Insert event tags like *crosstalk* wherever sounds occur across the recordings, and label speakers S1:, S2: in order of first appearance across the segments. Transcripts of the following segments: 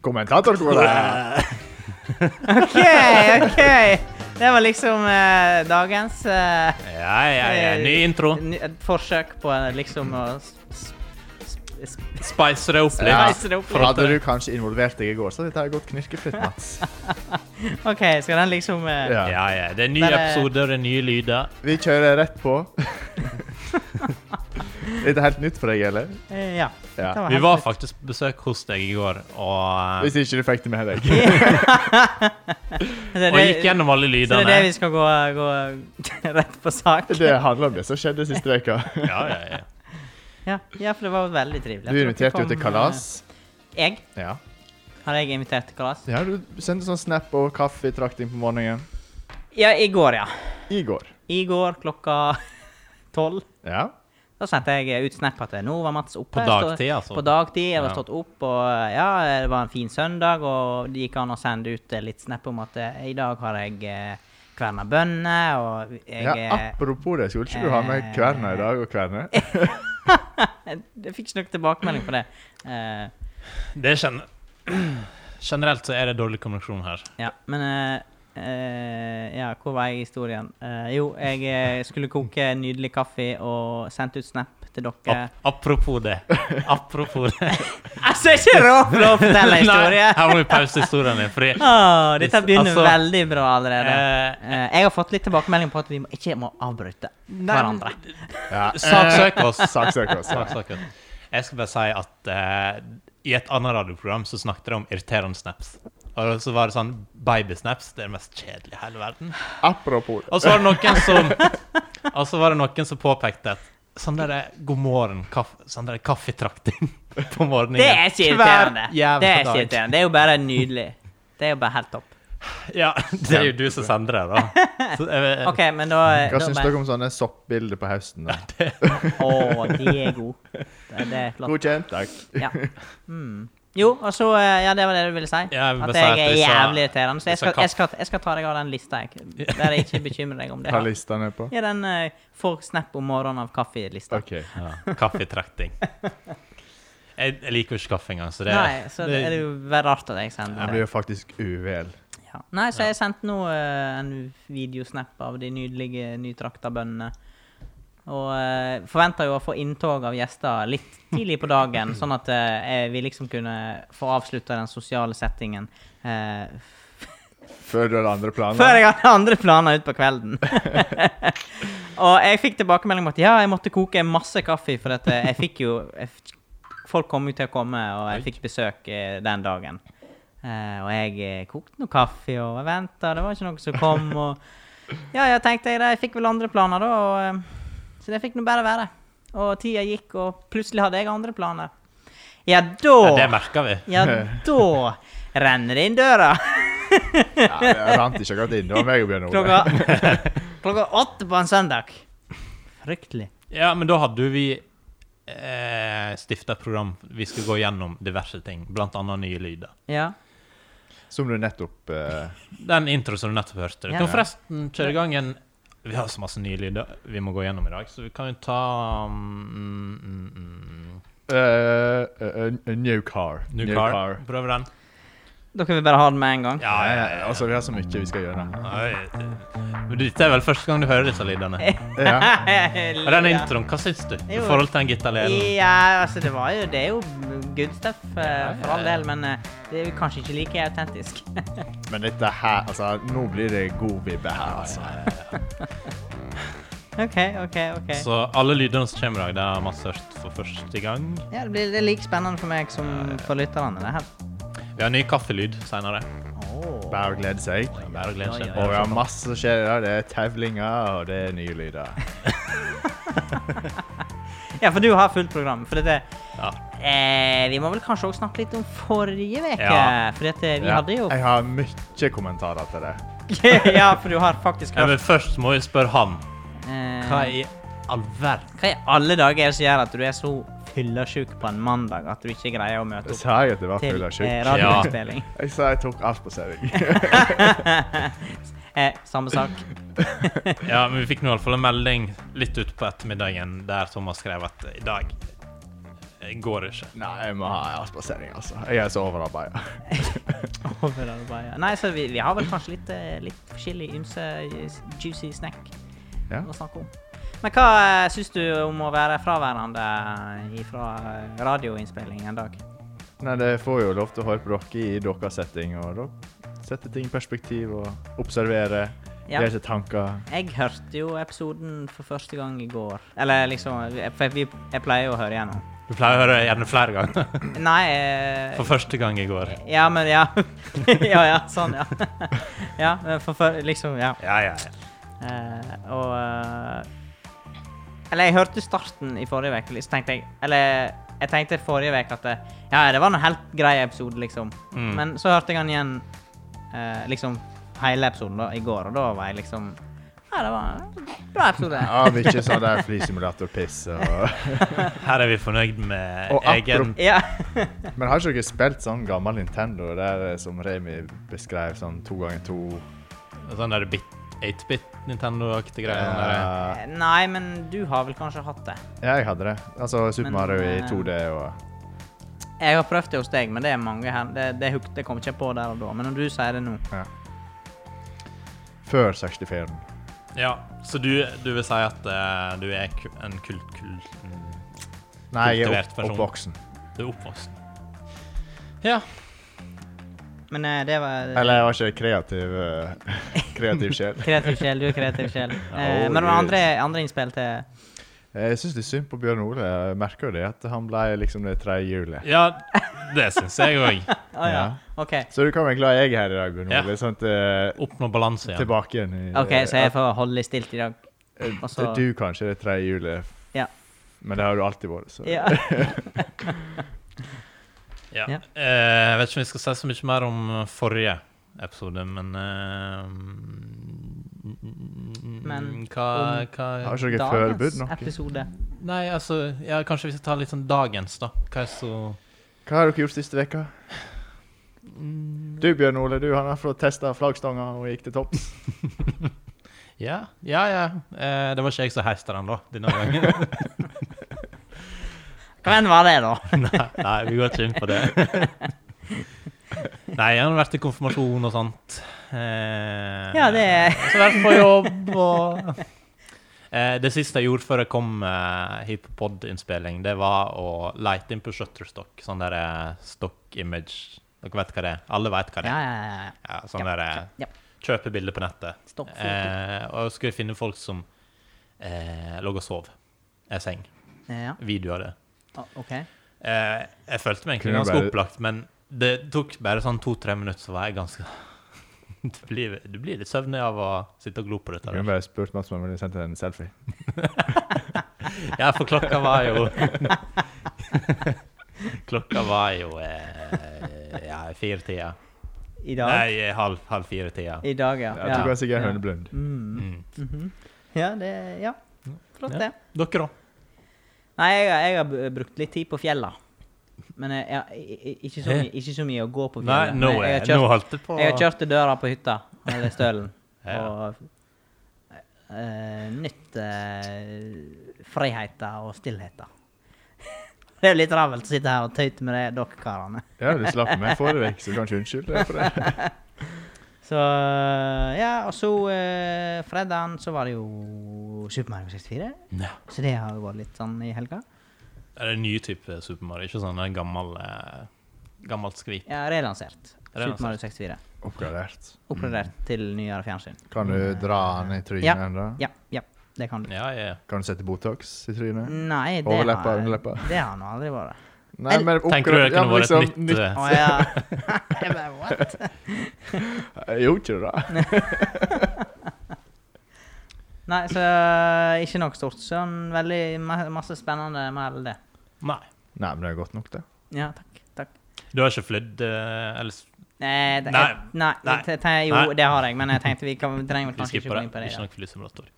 S1: Kommentator skulle det
S2: OK, OK. Det var liksom eh, dagens eh,
S3: Ja, ja, ja. Ny intro.
S2: ny- et forsøk på eh, liksom å s- s- s-
S3: Spice det opp
S1: Ja.
S3: litt.
S2: Spice det opp litt.
S1: Hadde du kanskje involvert deg i går, så hadde dette her gått knirkefritt, Mats.
S2: OK, skal den liksom eh,
S1: *laughs* Ja.
S3: Ja, ja. Det er nye
S2: Bare-
S3: episoder, det er nye lyder.
S1: Vi kjører rett *laughs* på. Er det helt nytt for deg, eller?
S2: eh, Ja.
S1: Ja.
S2: Det
S3: Vi
S2: helt
S3: var
S2: nytt.
S3: faktisk på besøk hos deg i går og,
S1: Hvis ikke du fikk det med deg.
S2: *laughs* Det er
S3: og
S2: det-
S3: gikk gjennom alle
S2: Så det er det vi
S3: lydene.
S2: skal gå, gå *laughs* rett på sak?
S1: Det handler om det som skjedde siste uka.
S3: Ja, ja, ja.
S2: Ja, ja, for det var veldig trivelig.
S1: Du
S2: Jeg tror
S1: inviterte jo
S2: dere
S1: til
S2: kom,
S1: kalas.
S2: eh, Jeg?
S1: Ja.
S2: Har jeg invitert til kalas?
S1: ja, du sendte sånn snap og kaffetrakting på morgenen.
S2: Ja, i går, ja.
S1: I går.
S2: I går klokka *laughs* tolv.
S1: Ja.
S2: Da sendte jeg ut snap at eh, nå var Mats oppe.
S3: På
S2: Jeg står-
S3: dagtid, altså.
S2: På dagtid, Jeg var
S3: Ja.
S2: stått opp, og ja, det var en fin søndag. Og det gikk an å sende ut eh, litt snap om at eh, i dag har jeg eh, kverna bønner, og jeg
S1: ja.
S2: eh,
S1: Apropos det, skulle ikke du ha med kverna i dag og
S2: *laughs*
S1: kverne?
S2: Jeg fikk ikke noen tilbakemelding på det. Eh,
S3: Det er gen *clears throat* Generelt så er det dårlig kommunikasjon her.
S2: Ja, men eh, eh, Ja, hvor var jeg i historien? Eh, jo, jeg eh, skulle koke nydelig kaffe og sendte ut snap til dere.
S3: Ap apropos det. Apropos det.
S2: *laughs* Altså, det er ikke råd for å fortelle en historie!
S3: *laughs* Nei, her må vi pause historien din, fordi
S2: Åh, dette begynner
S3: Altså,
S2: veldig bra allerede.
S3: eh,
S2: Eh, jeg har fått litt tilbakemelding på at vi må, ikke må avbryte hverandre.
S1: Ja.
S3: Saksøk oss.
S1: Saksøk oss. Ja.
S3: Saksøk oss. Jeg skal bare si at eh, i et annet radioprogram så snakket de om irriterende snaps. Og så var det sånn Babysnaps. Det er det mest kjedelige i hele verden.
S1: Apropos det.
S3: Og så var det noen som Og så var det noen som påpekte at sånn der er god morgen, kaffe, sånn der er kaffetrakting på morgenen.
S2: Det er ikke irriterende.
S3: jævla
S2: Det er ikke
S3: dag.
S2: irriterende. Det er jo bare nydelig. Det er jo bare helt topp.
S3: Ja, det er jo du som sender det, da. Så, eh,
S2: OK, men da,
S1: Hva
S2: da
S1: syns dere om sånne soppbilder på høsten? da?
S2: Å, de er gode. Det det er flott.
S1: Godkjent. Takk.
S2: Ja. Mm. Jo, og så eh, Ja, det var det du ville si?
S3: Ja, jeg vil bare
S2: at
S3: si
S2: jeg
S3: at
S2: er
S3: jeg sa-
S2: jævlig irriterende. Så
S3: jeg
S2: jeg
S3: sa
S2: skal,
S3: katt.
S2: jeg, skal, jeg skal ta deg av den lista, jeg. Der jeg ikke bekymrer deg om det.
S1: Hva lista ned på?
S2: Ja, den eh, får snap om morgenen av kaffe-lista.
S1: OK.
S3: Ja, kaffetrakting. Jeg, jeg liker jo ikke kaffe engang, så det
S2: Nei, så det er det jo veldig rart at jeg
S1: Jeg
S2: sender
S1: blir
S2: det.
S1: jo faktisk uvel.
S2: Ja. Nei, så jeg sendte nå eh, en videosnap av de nydelige nytrakta bøndene. Og eh, forventer jo å få inntog av gjester litt tidlig på dagen, sånn at eh, vi liksom kunne få avslutta den sosiale settingen. eh,
S1: Før du har andre planer?
S2: Før jeg hadde andre planer utpå kvelden. *laughs* og jeg fikk tilbakemelding om at ja, jeg måtte koke masse kaffe, for at eh, jeg fikk jo jeg, f- Folk kom jo til å komme, og jeg fikk besøk eh, den dagen. Eh, og jeg eh, kokte noe kaffe, og jeg venta, det var ikke noe som
S3: *laughs*
S2: kom, og Ja, ja, tenkte jeg det. Jeg fikk vel andre planer, da, og eh, Så det fikk nå bare være. Og tida gikk, og plutselig hadde jeg andre planer. Ja, da
S3: Ja, det merker vi.
S2: Ja, da
S3: *laughs*
S2: renner det inn døra.
S1: Ja, det rant ikke akkurat inn. Det var meg og Bjørn
S3: *laughs*
S1: Ole.
S2: Klokka, klokka åtte på en søndag. Fryktelig.
S3: Ja, men da hadde jo vi eh, stifta et program. Vi skulle gå gjennom diverse ting, blant annet nye lyder.
S2: Ja.
S1: Som du nettopp eh,
S3: Den intro som du nettopp hørte. Du
S2: Ja.
S3: kan forresten kjøre i gang en Vi har så masse nye lyder vi må gå gjennom i dag, så vi kan jo ta mm, mm, mm,
S1: eh, eh, eh, New car.
S3: New Car. Prøv den.
S2: Dere vil bare ha den med en *laughs* gang?
S3: Ja,
S1: Ja,
S3: ja,
S1: ja, ja. Altså, vi har så mye vi skal gjøre.
S3: ja. Oi, det- Men dette er vel første gang du hører disse lydene.
S1: Ja.
S3: Og den introen, hva syns du? I
S2: Jo.
S3: forhold til den gitarleden?
S2: Ja, altså det var jo Det er jo good stuff eh, for all del, men eh, det er jo kanskje ikke like autentisk. *laughs*
S1: Men dette her Altså, nå blir det god vibbe her, altså.
S2: OK, OK, OK.
S3: Så alle lydene som kommer i dag, det har Mats hørt for første gang.
S2: Ja, det blir det er like spennende for meg som for lytterne, det her.
S3: Vi har ny kaffelyd senere.
S2: Oh.
S1: Bare å glede seg.
S3: Det er Bare å glede
S1: Og
S3: seg.
S1: vi har masse som skjer i dag. Det er tevlinger, og det er nye lyder.
S2: Ja, for du har fullt program. For dette
S3: Ja.
S2: eh, Vi må vel kanskje også snakke litt om forrige uke?
S3: Ja.
S2: For dette, vi
S1: Ja.
S3: *laughs*
S2: hadde jo *laughs*
S1: Jeg har mye kommentarer til det.
S2: Ja, for du har faktisk
S3: Ja,
S2: hørt
S3: men først må vi spørre han.
S2: eh,
S3: Hva i all verden?
S2: Hva i alle dager er det som gjør at du er så fyllesyk på en mandag at du ikke greier å
S1: *laughs*
S2: møte
S1: Jeg
S2: opp
S1: sa jeg at det var
S2: til
S1: full av
S2: eh,
S1: sjukt?
S2: radioinnspilling?
S1: Jeg sa jeg tok alt på seg.
S2: *laughs* Eh, samme sak. *laughs*
S3: Ja, men vi fikk nå i hvert fall en melding litt ut på ettermiddagen der Thomas skrev at i dag eh, Det går ikke.
S1: Nei, jeg må ha avspasering, altså. Jeg er så overarbeida.
S2: Overarbeida. Nei, så vi, vi har vel kanskje litt, eh, litt forskjellig ymse eh, juicy snack
S1: Ja.
S2: å snakke om. Men hva eh, syns du om å være fraværende fra radioinnspilling en dag?
S1: *laughs* Nei, det får jo lov til å høre på dere i deres setting, og da sette ting i perspektiv og observere,
S2: Ja.
S1: gjøre seg tanker.
S2: Jeg hørte jo episoden for første gang i går. Eller liksom jeg- For vi, jeg pleier jo å høre gjennom.
S3: Du pleier å høre gjerne flere ganger. *laughs*
S2: Nei eh,
S3: For første gang i går.
S2: Ja, men ja. *laughs* ja, ja, sånn, ja. *laughs* ja, men for, for liksom, ja.
S3: Ja, ja, ja.
S2: Eh, og eh, Eller jeg hørte starten i forrige uke, så tenkte jeg Eller jeg tenkte forrige uke at det, ja, det var en helt grei episode, liksom.
S3: Mm.
S2: Men så hørte jeg den igjen eh, liksom hele episoden da, i går, og da var jeg liksom Ja, det var en bra
S1: *laughs*
S2: episode.
S1: Ja, mye sånn der flysimulator-piss og
S3: Her er vi fornøyd med
S1: Og
S3: egen
S1: apropos-
S2: Ja.
S1: Men har ikke dere spilt sånn gammel Nintendo der eh, som Remi beskrev, sånn to ganger to?
S3: sånn der bit, 8-bit Nintendo-aktig greie. sånn der.
S1: Eh,
S2: Nei, men du har vel kanskje hatt det?
S1: Ja, jeg hadde det. Altså Super
S2: Men,
S1: Mario i
S2: eh,
S1: 2D og
S2: Jeg har prøvd det hos deg, men det er mange her. Det, det, hook- det kom ikke jeg på der og da, men når du sier det nå
S1: ja. Før 64.
S3: Ja, så du, du vil si at eh, du er ku- en kult... kult mm,
S1: Nei, jeg er
S3: Kultivert
S1: opp,
S3: person.
S1: oppvoksen.
S3: du er oppvoksen. Ja.
S2: Men eh, det var
S1: Eller jeg var ikke kreativ, eh, kreativ sjel.
S2: Kreativ sjel, du er kreativ
S1: *laughs*
S2: sjel. Eh,
S1: Oh,
S2: men det var
S1: Gud.
S2: andre, andre innspill til
S1: Jeg syns litt synd på Bjørn Ole. Jeg merker jo det at han ble liksom det tredje hjulet.
S3: ja, det syns jeg òg.
S2: Å ja.
S1: Ja.
S2: OK.
S1: Så du kan være glad jeg er her i dag, Bjørn
S3: Ja.
S1: Ole. Sånn at eh,
S3: Oppnå balanse igjen.
S1: Tilbake igjen. i-
S2: Ok, Så jeg får holde litt stilt i dag.
S1: Eh,
S2: Og så-
S1: Du kanskje det tredje hjulet.
S2: Ja.
S1: Men det har du alltid vært. Så.
S2: Ja.
S3: Ja.
S2: Ja.
S3: Eh, jeg vet ikke om vi skal si så mye mer om forrige episode, men eh,
S2: Men
S3: hva,
S2: om-
S3: hva
S1: Har ikke dere forberedt noe?
S2: episode.
S3: Nei, altså ja, Kanskje vi skal ta litt sånn dagens, da. Hva er så
S1: Hva har dere gjort siste veka? Du Bjørn Ole, du han har fått testa flaggstanga og gikk til topps.
S3: Ja, ja. ja. Eh, det var ikke jeg som heiste den, da, denne gangen.
S2: *laughs* Hva enn var det, da?
S3: nei, nei, vi går ikke inn på det.
S2: *laughs*
S3: nei, jeg har vært i konfirmasjon og sånt. Eh,
S2: Ja, det er
S3: Og så vært på jobb og *laughs* eh, Det siste jeg gjorde før jeg kom eh, hit på pod-innspilling, det var å leite inn på Shutterstock. Sånn der eh, stock image. Dere vet hva det er? Alle vet hva det
S2: Ja,
S3: er.
S2: ja, ja, ja.
S3: Ja, sånn der eh,
S2: ja.
S3: kjøpe bilder på nettet.
S2: Stopp foto.
S3: Eh, og så skulle jeg finne folk som eh, lå og sov. Jeg seng.
S2: ja.
S3: Video av det.
S2: Å, OK.
S3: Eh, jeg følte meg egentlig
S1: Kunne
S3: ganske
S1: bare-
S3: opplagt, men det tok bare sånn to-tre minutter, så var jeg ganske *laughs* du, blir, du blir litt søvnig av å sitte og glo på dette.
S1: Jeg
S3: der.
S1: kunne bare spurt Mats om han ville sendt en selfie.
S3: Ja, for klokka var jo *laughs* Klokka var jo eh, ja, fire-tida.
S2: I dag?
S3: Nei, eh, halv, halv fire-tida.
S2: I dag, ja.
S1: Jeg
S2: Ja,
S1: tok han sikkert
S2: Ja.
S1: høneblund.
S2: Mm.
S3: Mm.
S2: Mhm. ja det Ja. Flott,
S3: Ja.
S2: det.
S3: Dere, da?
S2: Nei, jeg, jeg har b- brukt litt tid på fjella. Men eh, jeg, jeg, jeg, ikke, så mye, ikke så mye å gå på
S3: Eh. Nei,
S2: fjellet.
S3: nå,
S2: Men
S3: er-
S2: jeg, har
S3: nå
S2: kjørt,
S3: holdt det på
S2: jeg har kjørt til døra på hytta, eller stølen,
S3: Ja.
S2: og eh, nytt uh, friheta og stillheta. *laughs* Det er jo litt ravelt å sitte her og tøyte med det, dere karene.
S1: Ja, du slapp meg forrige uke, så du kan ikke unnskylde deg for det.
S2: Så eh, ja, og så uh, fredagen så var det jo Super Mario 64,
S3: Nei.
S2: så det har jo vært litt sånn i helga.
S3: Er det en ny type Super Mario? Ikke sånn en gammel eh, gammelt skvip?
S2: Ja, relansert.
S3: Relansert.
S2: Super Mario 64.
S1: Oppgradert.
S2: Oppgradert til nyere fjernsyn.
S1: Mm. Kan du dra han i trynet
S2: Ja.
S1: ennå?
S2: Ja, ja, det kan du.
S3: Ja, ja.
S1: Kan du sette Botox i trynet?
S2: Nei, det
S1: Overleppa,
S2: har,
S1: underleppa.
S2: det har nå aldri vært.
S1: Nei, men
S3: Tenker du det
S1: oppgra- ja,
S3: kunne
S1: men
S3: vært
S1: liksom,
S3: et nytt eh,
S2: Å ja. *laughs* Jeg bare, what?
S3: eh?
S1: Jeg gjorde Eh, ikke det, da.
S2: Nei, så ikke noe stort. Sånn veldig ma- masse spennende med det.
S3: Nei.
S1: Nei, men det er godt nok, det.
S2: Ja, takk. takk.
S3: Du har ikke flydd eh, eller s-
S2: Nei, det,
S3: Nei.
S2: nei,
S3: Nei.
S2: te- te-
S3: Nei.
S2: jo, det har jeg, men jeg tenkte vi kan, trenger vel
S3: Vi
S2: kanskje ikke
S3: skipper
S2: gå
S3: det.
S2: inn på det.
S3: Ikke
S2: i dag.
S3: noen flysimulator.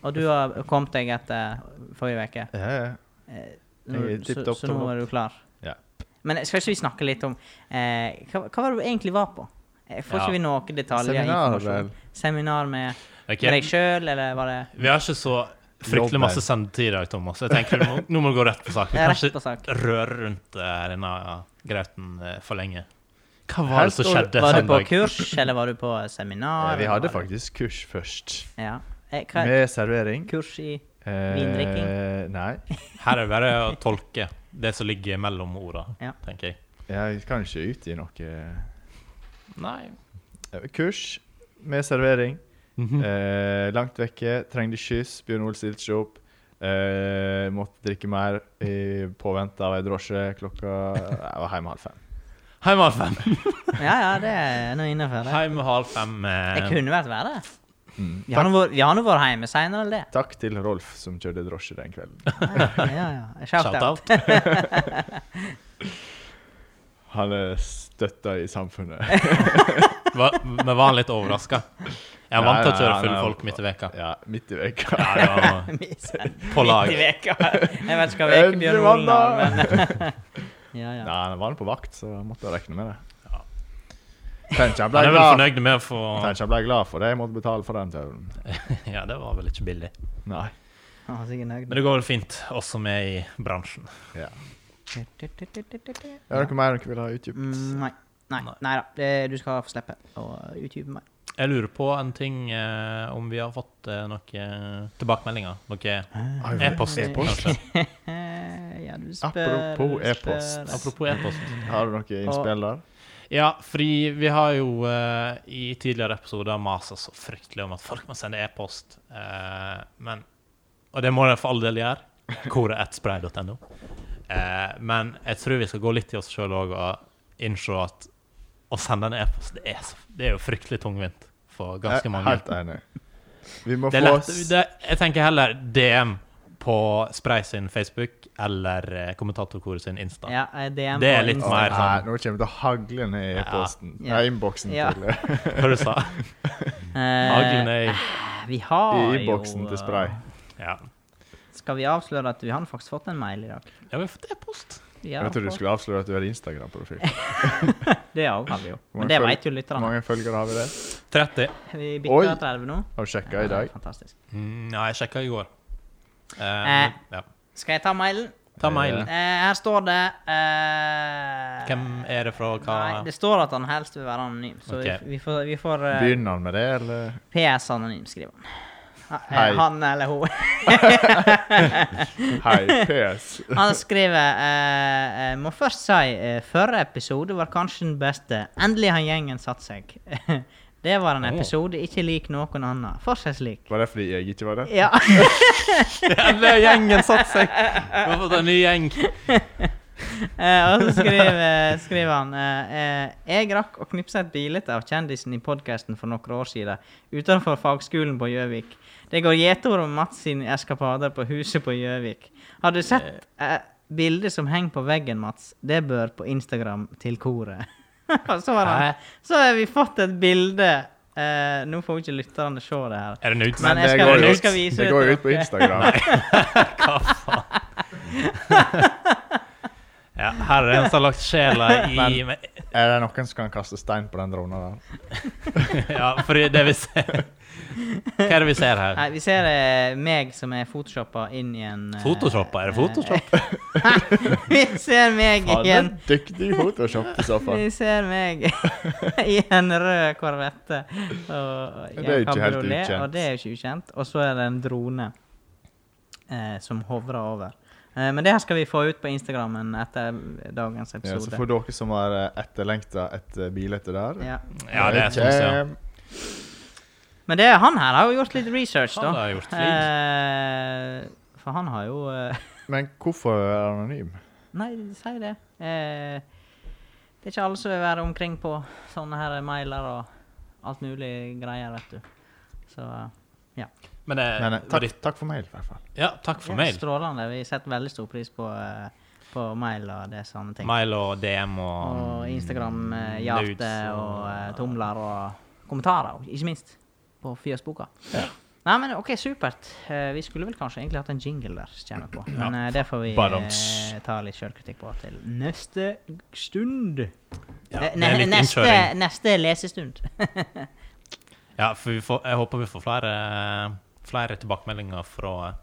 S2: Og du har kommet deg etter forrige uke.
S1: Ja, ja.
S2: Eh,
S1: Jeg er
S2: nå- Så,
S1: tipptopp,
S2: så nå
S1: topp.
S2: er du klar?
S1: Ja.
S2: Men eh, skal ikke vi snakke litt om eh, hva, hva var det du egentlig var på? Eh, Får
S3: Ja.
S2: ikke vi noe detaljer?
S1: Seminar,
S2: informasjon? Seminar med,
S3: Ok,
S2: med deg sjøl, eller var det
S3: Vi har ikke så fryktelig masse sendetid i dag, Thomas. Jeg tenker du må, Nå må du gå rett på sak. Vi kan
S2: Rett på
S3: ikke
S2: sak.
S3: røre rundt eh, denne grauten eh, for lenge. Hva
S1: Her
S3: var det som
S1: står-
S3: skjedde
S2: Var du på
S3: søndag?
S2: kurs, eller var du på seminar?
S1: Eh, Vi
S2: eller
S1: hadde
S2: var du-
S1: faktisk kurs først.
S2: Ja. Eh, Hva er
S1: Med servering.
S2: kurs i
S1: Eh,
S2: Vindrikking.
S1: Nei.
S3: Her er det bare å tolke det som ligger mellom orda,
S2: Ja.
S3: tenker jeg.
S1: Jeg kan ikke ut i noe eh,
S3: Nei.
S1: Kurs med servering.
S2: Mhm.
S3: Eh,
S1: Eh, langt vekke, trengte skyss. Bjørn Ole stilte seg opp. Eh, måtte drikke mer i påvente av ei drosje. Klokka Jeg var hjemme halv fem.
S3: Heim halv fem.
S2: Ja, ja, det er noe innenfor det.
S3: Heim halv fem. eh,
S2: Jeg kunne vært verre.
S1: Mm.
S2: Vi har nå vært- vi har nå vært hjemme seinere enn det.
S1: Takk til Rolf som kjørte drosje den kvelden.
S2: Ja, ja, ja. Shout out.
S3: Shout-out.
S1: Han er støtta i samfunnet.
S3: Hva- Men var han litt overraska? Jeg er vant til å
S1: Nei, nei,
S3: kjøre
S1: nei,
S3: fulle
S1: nei.
S3: folk midt i veka.
S1: *laughs* Ja, midt i
S3: Ja,
S1: veka.
S3: det var på lag.
S2: Midt i veka. Jeg vet ikke hva veke Bjørn
S1: Endelig
S2: Olen har, men
S3: *laughs*
S2: Ja,
S1: Nei,
S2: ja.
S1: han var på vakt, så han måtte regne med det. Tenk, han ble
S3: Han er vel
S1: glad.
S3: fornøyd med å få
S1: Tenk, han ble glad for det. Jeg måtte betale for den tauren.
S3: Ja, det var vel ikke billig.
S1: Nei.
S2: Han var sikkert nøyd.
S3: Men det går vel fint, også med i bransjen.
S1: Ja. Er det
S2: Ja.
S1: noe mer dere vil ha utdypt?
S2: Mm, Nei. Nei,
S3: Nei.
S2: nei da. Det, du skal få slippe å utdype meg.
S3: Jeg lurer på en ting eh, om vi har fått eh, noen tilbakemeldinger. Noe e-post,
S1: E-post.
S3: kanskje.
S2: Eh, ja, du spør
S1: Apropos
S2: du spør.
S1: e-post.
S3: Apropos e-post.
S2: Mm.
S1: Har du noe innspill der?
S3: Ja, fordi vi har jo eh, i tidligere episoder masa så fryktelig om at folk må sende e-post. Eh, men Og det må de for all del gjøre. *laughs* Koret1spray.no. Eh, men jeg tror vi skal gå litt i oss sjøl òg og innse at å sende en e-post, det, er så- det er jo fryktelig tungvint for ganske
S1: Jeg er
S3: mange.
S1: Helt enig. Vi må
S3: Det er
S1: få
S3: lett,
S1: s-
S3: det, jeg tenker heller DM på Spray sin Facebook eller eh, kommentatorkoret sin Insta.
S2: Ja, eh, DM
S3: Det er
S2: på
S3: litt
S2: Insta.
S3: mer.
S1: Nei,
S3: sånn-
S1: Nå kommer det å hagle ned i posten.
S2: Ja.
S1: Nei, innboksen
S2: Ja.
S3: *laughs*
S1: til
S3: Hva du sa
S2: Eh,
S3: Aglen er i
S2: vi har
S1: I
S2: jo eh,
S1: innboksen til Spray.
S3: eh, ja.
S2: Skal vi avsløre at vi har faktisk fått en mail i dag?
S3: ja, vi har fått e-post.
S2: Vi har
S1: Jeg trodde du
S2: fått-
S1: skulle avsløre at du hadde Instagram-profil.
S2: Det òg har vi jo.
S1: Mange
S2: Men det
S1: følg-
S2: veit jo
S1: Hvor
S2: lytterne.
S1: mange følgere har vi der?
S3: 30.
S2: *laughs* Vi
S1: Oi.
S2: bikker 30 nå.
S1: Har du sjekka i dag?
S2: fantastisk.
S3: Mm, ja, jeg sjekka i går. Eh,
S2: Eh.
S3: ja.
S2: Skal jeg ta mailen?
S3: Ta mailen.
S2: Eh, her står det eh,
S3: Hvem er det fra? Hva?
S2: Nei,
S3: *laughs*
S2: det står at han helst vil være anonym, så
S3: Ok.
S2: vi, vi får, vi får eh,
S1: Begynner han med det, eller?
S2: PS anonym, skriver han. Eh,
S1: Hei.
S2: Han eller hun. *laughs*
S1: Hei, PS.
S2: Han skriver eh, eh, Må først si uh, Førre episode var kanskje den beste. Endelig har gjengen satt seg. *laughs* det var en
S3: Åh.
S2: episode ikke lik noen annen. For seg slik.
S1: Var det fordi jeg ikke var det?
S2: Ja.
S3: Hele gjengen satt seg! Vi har fått en ny gjeng.
S2: *laughs* Eh, og så skriver, skriver han eh, eh, Jeg rakk å knipse et bilde av kjendisen i podkasten for noen år siden utenfor fagskolen på Gjøvik. Det går gjetord om Mats sine eskapader på huset på Gjøvik. Har du sett eh, bildet som henger på veggen, Mats? Det bør på Instagram til koret. *laughs* Og så, har
S3: Hæ?
S2: han, så har vi fått et bilde eh, Nå får jo ikke lytterne se det her.
S3: Er det en
S2: Men eh,
S3: utsending?
S2: jeg
S1: det
S2: skal-
S1: går jo
S2: jeg
S1: ut-
S2: skal vise
S1: det
S2: det
S1: går
S2: til
S1: jo ut på
S2: dere. *laughs*
S1: Instagram.
S3: Ja, her er det en som har lagt sjela
S2: *laughs*
S3: i
S1: Er det noen som kan kaste stein på den drona der?
S3: *laughs* Ja, for det vi ser Hva er det vi ser her?
S2: *laughs* Nei, vi ser eh, meg som er photoshoppa inn i en eh,
S3: Photoshoppa? Er det
S2: eh,
S3: Photoshop?
S2: *laughs* vi ser meg
S1: Faen,
S2: i en
S1: en dyktig Photoshop i så fall.
S2: Vi ser meg *laughs* i en rød korvette. Og
S1: Det er jo ikke helt ukjent.
S2: Og det er jo ikke ukjent. Og så er det en drone eh, som hovrer over. Eh, men det her skal vi få ut på Instagrammen etter dagens
S1: Ja, så
S2: episode.
S1: for dere som har eh, etterlengta et eh, bilete der
S2: Ja.
S3: Ja, det er sånn, ja.
S1: Kjem.
S2: Men det, han her har jo gjort litt research,
S3: Han
S2: da.
S3: har gjort liv.
S2: Eh, for han har jo eh,
S1: Men hvorfor er han anonym?
S2: Nei, si det. Eh, det er ikke alle som vil være omkring på sånne her mailer og alt mulig greier, vet du. Så
S3: Men, eh,
S1: Men eh,
S3: var
S1: takk,
S3: det-
S1: takk for mail, i hvert fall.
S3: Ja, takk for
S2: ja,
S3: mail.
S2: strålende. Vi setter veldig stor pris på, eh, på mail og det sånne ting.
S3: Mail og DM og
S2: Og Instagram, eh,
S3: nudes
S2: hjerte
S3: og-
S2: og eh, tomler og kommentarer, og ikke minst. På Fjøsboka. Nei, men OK, supert. Eh, vi skulle vel kanskje egentlig hatt en jingle der, kjenner jeg på. Men eh, det får vi
S1: Badums.
S2: eh, ta litt sjølkritikk på til neste stund.
S3: Ja,
S2: Eh,
S3: det er
S2: ne-
S3: litt
S2: neste,
S3: innkjøring.
S2: neste lesestund.
S3: Ja, for vi får, jeg håper vi får flere, flere tilbakemeldinger fra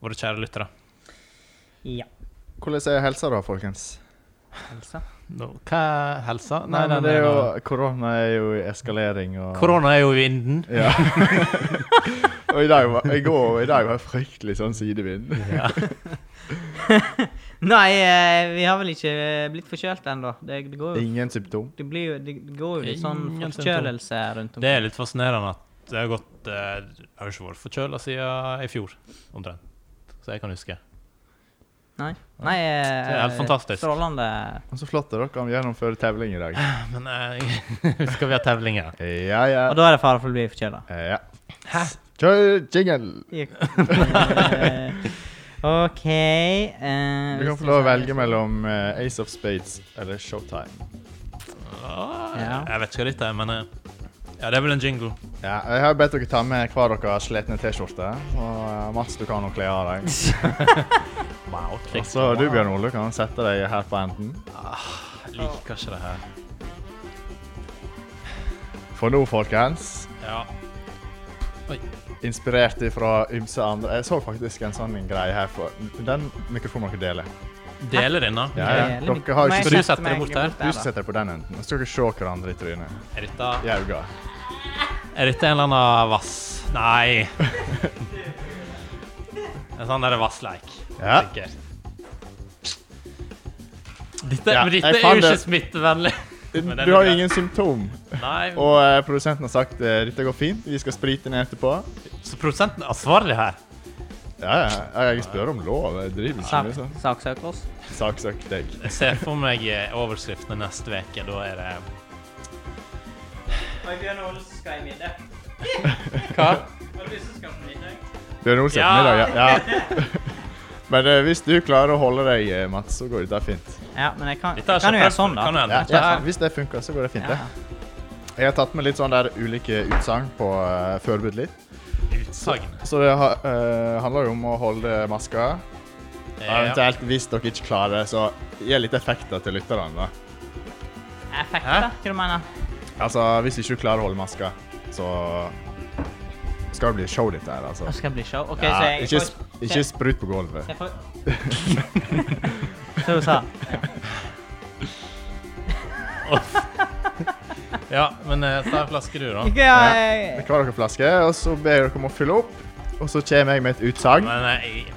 S3: våre kjære lyttere.
S2: Ja.
S1: Hvordan er helsa da, folkens?
S2: Helse.
S3: Hva er helsa?
S1: Nei, men det er jo, Korona er jo i eskalering og
S3: Korona er jo i vinden.
S1: Ja. *laughs* og i dag, var, i går, og i dag var det fryktelig sånn sidevind.
S2: Nei, eh, vi har vel ikke blitt forkjølt ennå. Det, det går jo
S1: Ingen symptom.
S2: det blir jo, det går jo litt sånn
S3: Ingen
S2: forkjølelse rundt om.
S3: Det er litt fascinerende at jeg har gått eh, Jeg har jo ikke vært forkjøla siden i fjor, omtrent. Så jeg kan huske.
S2: Nei, Nei eh,
S3: Det er helt fantastisk.
S2: Strålende.
S1: Og så flott at dere kan gjennomføre tevling i dag.
S3: Men jeg *laughs* husker vi har tevlinger.
S1: Ja, ja.
S2: Og da er det fare for å bli forkjøla.
S1: ja. Kjør jingle!
S2: Ja. Eh, *laughs* OK eh,
S1: Du kan få lov å velge mellom eh, Ace of Spades eller Showtime.
S3: Ah,
S2: Ja.
S3: Jeg vet ikke hva dette er, men eh, ja, det er vel en jingle.
S1: Ja, jeg har bedt dere ta med hver deres sletne T-skjorte. Og eh, Mats, du kan jo kle av deg.
S3: Wow, altså.
S1: Og så du, Bjørn Ole, kan sette deg her på enden.
S3: Jeg liker ikke det her.
S1: For nå, folkens,
S3: Ja. Oi.
S1: inspirert ifra ymse andre Jeg så faktisk en sånn greie her for Den mikrofonen dere deler.
S3: Deler denne.
S1: Ja, ja. Dere har jo ikke-
S3: Så du setter deg bort her?
S1: Du setter deg på den enden. Så skal dere se hverandre i trynet.
S3: Er dette,
S1: I øynene.
S3: er dette en eller annen vass... Nei. En sånn der vassleik.
S1: Ja.
S3: sikkert. Dette,
S1: Ja,
S3: men
S1: jeg
S3: dette er
S1: fant
S3: jo ikke
S1: det.
S3: smittevennlig. Men den
S1: Du
S3: er
S1: har
S3: grei.
S1: ingen symptom.
S3: Nei,
S1: *laughs* Og eh, produsenten har sagt eh, dette går fint, vi skal sprite ned etterpå.
S3: så prosenten er ansvarlig her.
S1: Ja, ja, jeg spør om lov. Jeg driver ikke med sånn.
S2: Saksøk oss.
S1: Saksøk deg.
S3: Jeg ser for meg eh, overskriftene neste uke. Da er det
S2: Bjørn Olsen skal i middag.
S3: Hva?
S2: Har du lyst til å skaffe middag?
S1: *laughs* Bjørn Olsen,
S3: Ja.
S1: middag. Ja. ja. *laughs* Men eh, hvis du klarer å holde deg, eh, Mats, så går dette fint.
S2: Ja, men jeg kan,
S3: Dette er
S2: kan jo
S3: ikke
S2: gjøre sånn, da.
S3: Kan jo
S1: Ja,
S3: hende.
S1: ja, hvis det funker, så går det fint.
S2: Ja.
S1: det. Jeg har tatt med litt sånn der ulike utsagn på uh, forbudt litt.
S3: Utsagn.
S1: Så det ha, eh, handler jo om å holde maska.
S3: Ja.
S1: Eventuelt hvis dere ikke klarer det, så gi litt effekter til lytterne. da.
S2: Effekt,
S3: Hæ?
S2: da? Hva du mener
S1: Altså, hvis ikke du klarer å holde maska, så skal det bli show dette her, altså.
S2: Det skal bli show. OK, så
S1: Ja,
S2: jeg
S1: ikke, sp- ikke sprut på gulvet.
S2: jeg får... Så du sa
S3: ja, men eh, ta en flaske, du, da.
S2: *laughs*
S1: Med
S2: Ikke jeg
S1: hver deres flaske, og så ber dere om å fylle opp. Og så kommer jeg med et utsagn.
S3: Men eh, jeg-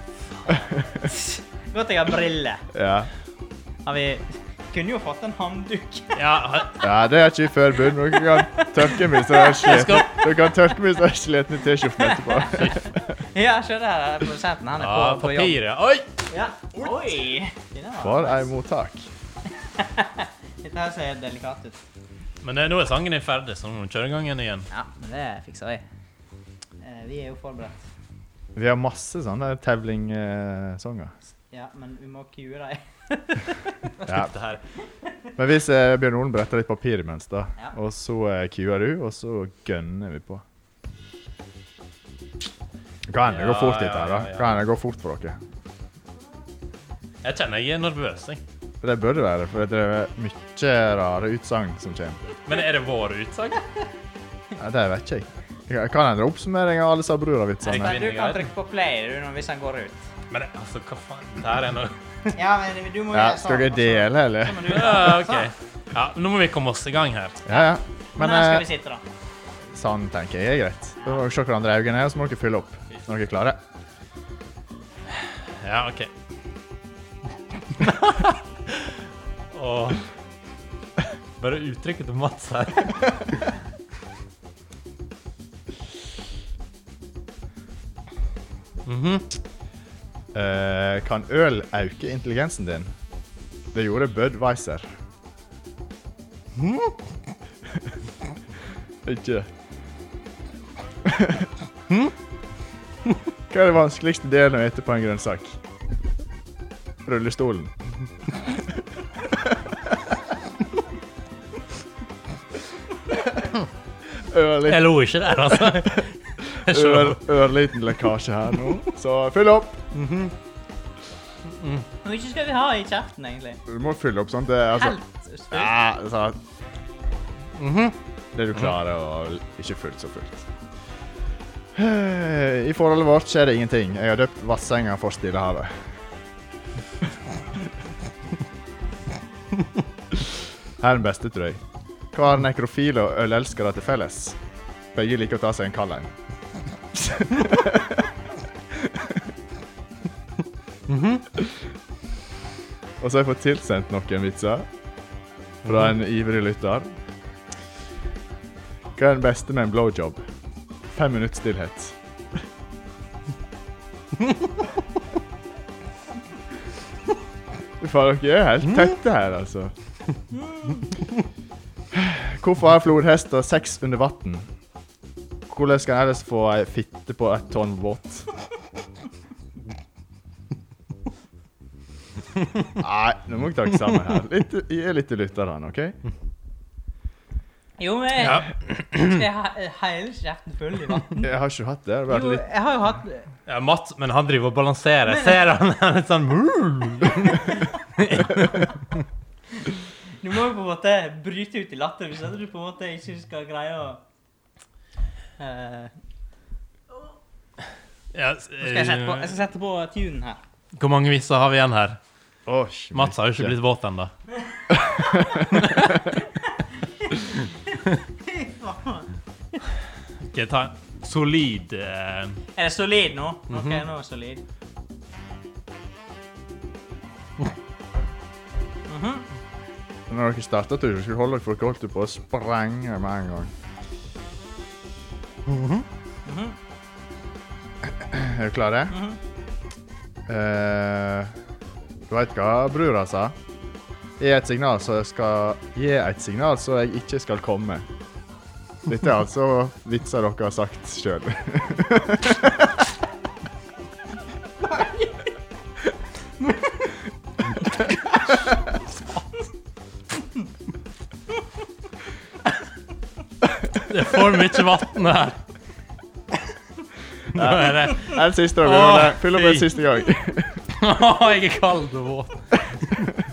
S2: Godt jeg har briller.
S1: Ja.
S2: Har vi Kunne jo fått en håndduk.
S3: ja,
S1: ja, det er ikke forbud. men Dere kan tørke meg så jeg er sliten. Dere kan tørke meg så jeg er sliten i T-skjorten
S2: *laughs*
S1: etterpå.
S2: *laughs* Ja, se der. Produsenten, han er på,
S3: ja,
S2: på jobb.
S3: papiret. Oi!
S2: Ja. Oi! Dine var-
S1: For ei mottak.
S2: Dette her ser delikat ut.
S3: Men eh, nå er sangen din ferdig, så nå må du kjøre i gang igjen. igjen.
S2: Ja, men det fikser vi. Eh, Vi er jo forberedt.
S1: Vi har masse sånne eh, tevling-sanger.
S2: Ja, men vi må kue deg.
S1: Ja.
S3: Dette her.
S1: Men hvis eh, Bjørn Olen bretter litt papir imens, da,
S2: Ja.
S1: og så eh, kuer du, og så gønner vi på. Kan hende det
S3: Ja,
S1: går fort,
S3: ja,
S1: dette her. da.
S3: ja, ja.
S1: Kan hende det går fort for dere.
S3: Jeg kjenner jeg er nervøs. Jeg.
S1: For Det bør det være, for det er mye rare utsagn som kommer.
S3: Men er det vår utsagn?
S1: Ja, det vet ikke jeg. Jeg kan hende det er oppsummering av alle Sabrura-vitsene.
S3: Jeg-
S2: Men du kan trykke på play du, når- hvis han går ut.
S3: Men eh, altså, hva faen? Dette her er noe
S2: *laughs* Ja, men du må sånn.
S1: Ja, skal dere dele, eller?
S3: Ja, OK. Ja, nå må vi komme oss i gang her.
S1: Ja, ja. Men
S2: Men her skal vi
S1: eh,
S2: sitte, da.
S1: sånn tenker jeg er greit. Da må dere se hverandre i øynene, og så må dere fylle opp når dere er klare.
S3: Ja, OK. *laughs* Og Bare uttrykket til Mats her. Mhm.
S1: Eh, kan øl øke intelligensen din? Det gjorde Budwiser. *laughs* Ikke *laughs* Hmm? Hva er det vanskeligste delen å ete på en grønnsak? Rullestolen. *laughs* Ørliten,
S3: Jeg lo ikke der, altså.
S1: ør,
S3: Jeg skjønner.
S1: ørliten lekkasje her nå, så fyll opp.
S2: Hvor mye skal vi ha i kjeften, egentlig?
S1: Du må fylle opp sånn. Det er altså
S2: Helt spurt.
S1: Ja, altså Mhm. Det du klarer, og ikke fullt så fullt. Eh, I forholdet vårt skjer det ingenting. Jeg har døpt Vasssenga for Stillehavet. Her er den beste, tror jeg. Hva har nekrofile og ølelskere til felles? Begge liker å ta seg en kald en. Mhm. Og så har jeg fått tilsendt noen vitser fra en ivrig lytter. Hva er den beste med en blowjob? Fem minutts stillhet. Faen, dere er helt tette her, altså. Hvorfor har flodhester sex under vann? Hvordan skal en ellers få ei fitte på ett tonn våt? Nei, nå må jeg takke sammen her. Litt, gi litt til lytterne, OK?
S2: Jo, men
S3: Ja.
S2: *laughs* skal jeg ha hele kjeften full i vann?
S1: Jeg har ikke hatt det. det har vært
S2: Jo,
S1: litt...
S2: jeg har jo hatt
S3: Ja, Matt, men han driver og balanserer.
S2: Men-
S3: Ser han han er litt sånn
S2: Du må jo på en måte bryte ut i latter hvis ikke du på en måte ikke skal greie å Eh,
S3: ja, eh,
S2: nå skal jeg, sette på, jeg skal sette på tunen her.
S3: Hvor mange viser har vi igjen her?
S1: Å, shit.
S3: Mats har jo ikke blitt våt ennå. Ok, ta en solid eh,
S2: Er det solid nå?
S3: Mhm.
S2: OK, nå er det solid.
S1: Når dere starta turen, skulle dere holde dere for dere holdt jo på å sprenge med en gang. Mhm. Er dere klare?
S3: Mhm.
S1: Eh, du veit hva brura sa? Gi et signal, så jeg skal Gi et signal, så jeg ikke skal komme. Dette er altså vitser dere har sagt sjøl.
S3: Det er for mye vann her. Nå er det
S1: Er *laughs* det siste dere
S3: Åh,
S1: gjør det? Fyll opp en
S3: fy.
S1: siste gang.
S3: Å, jeg er kald og våt.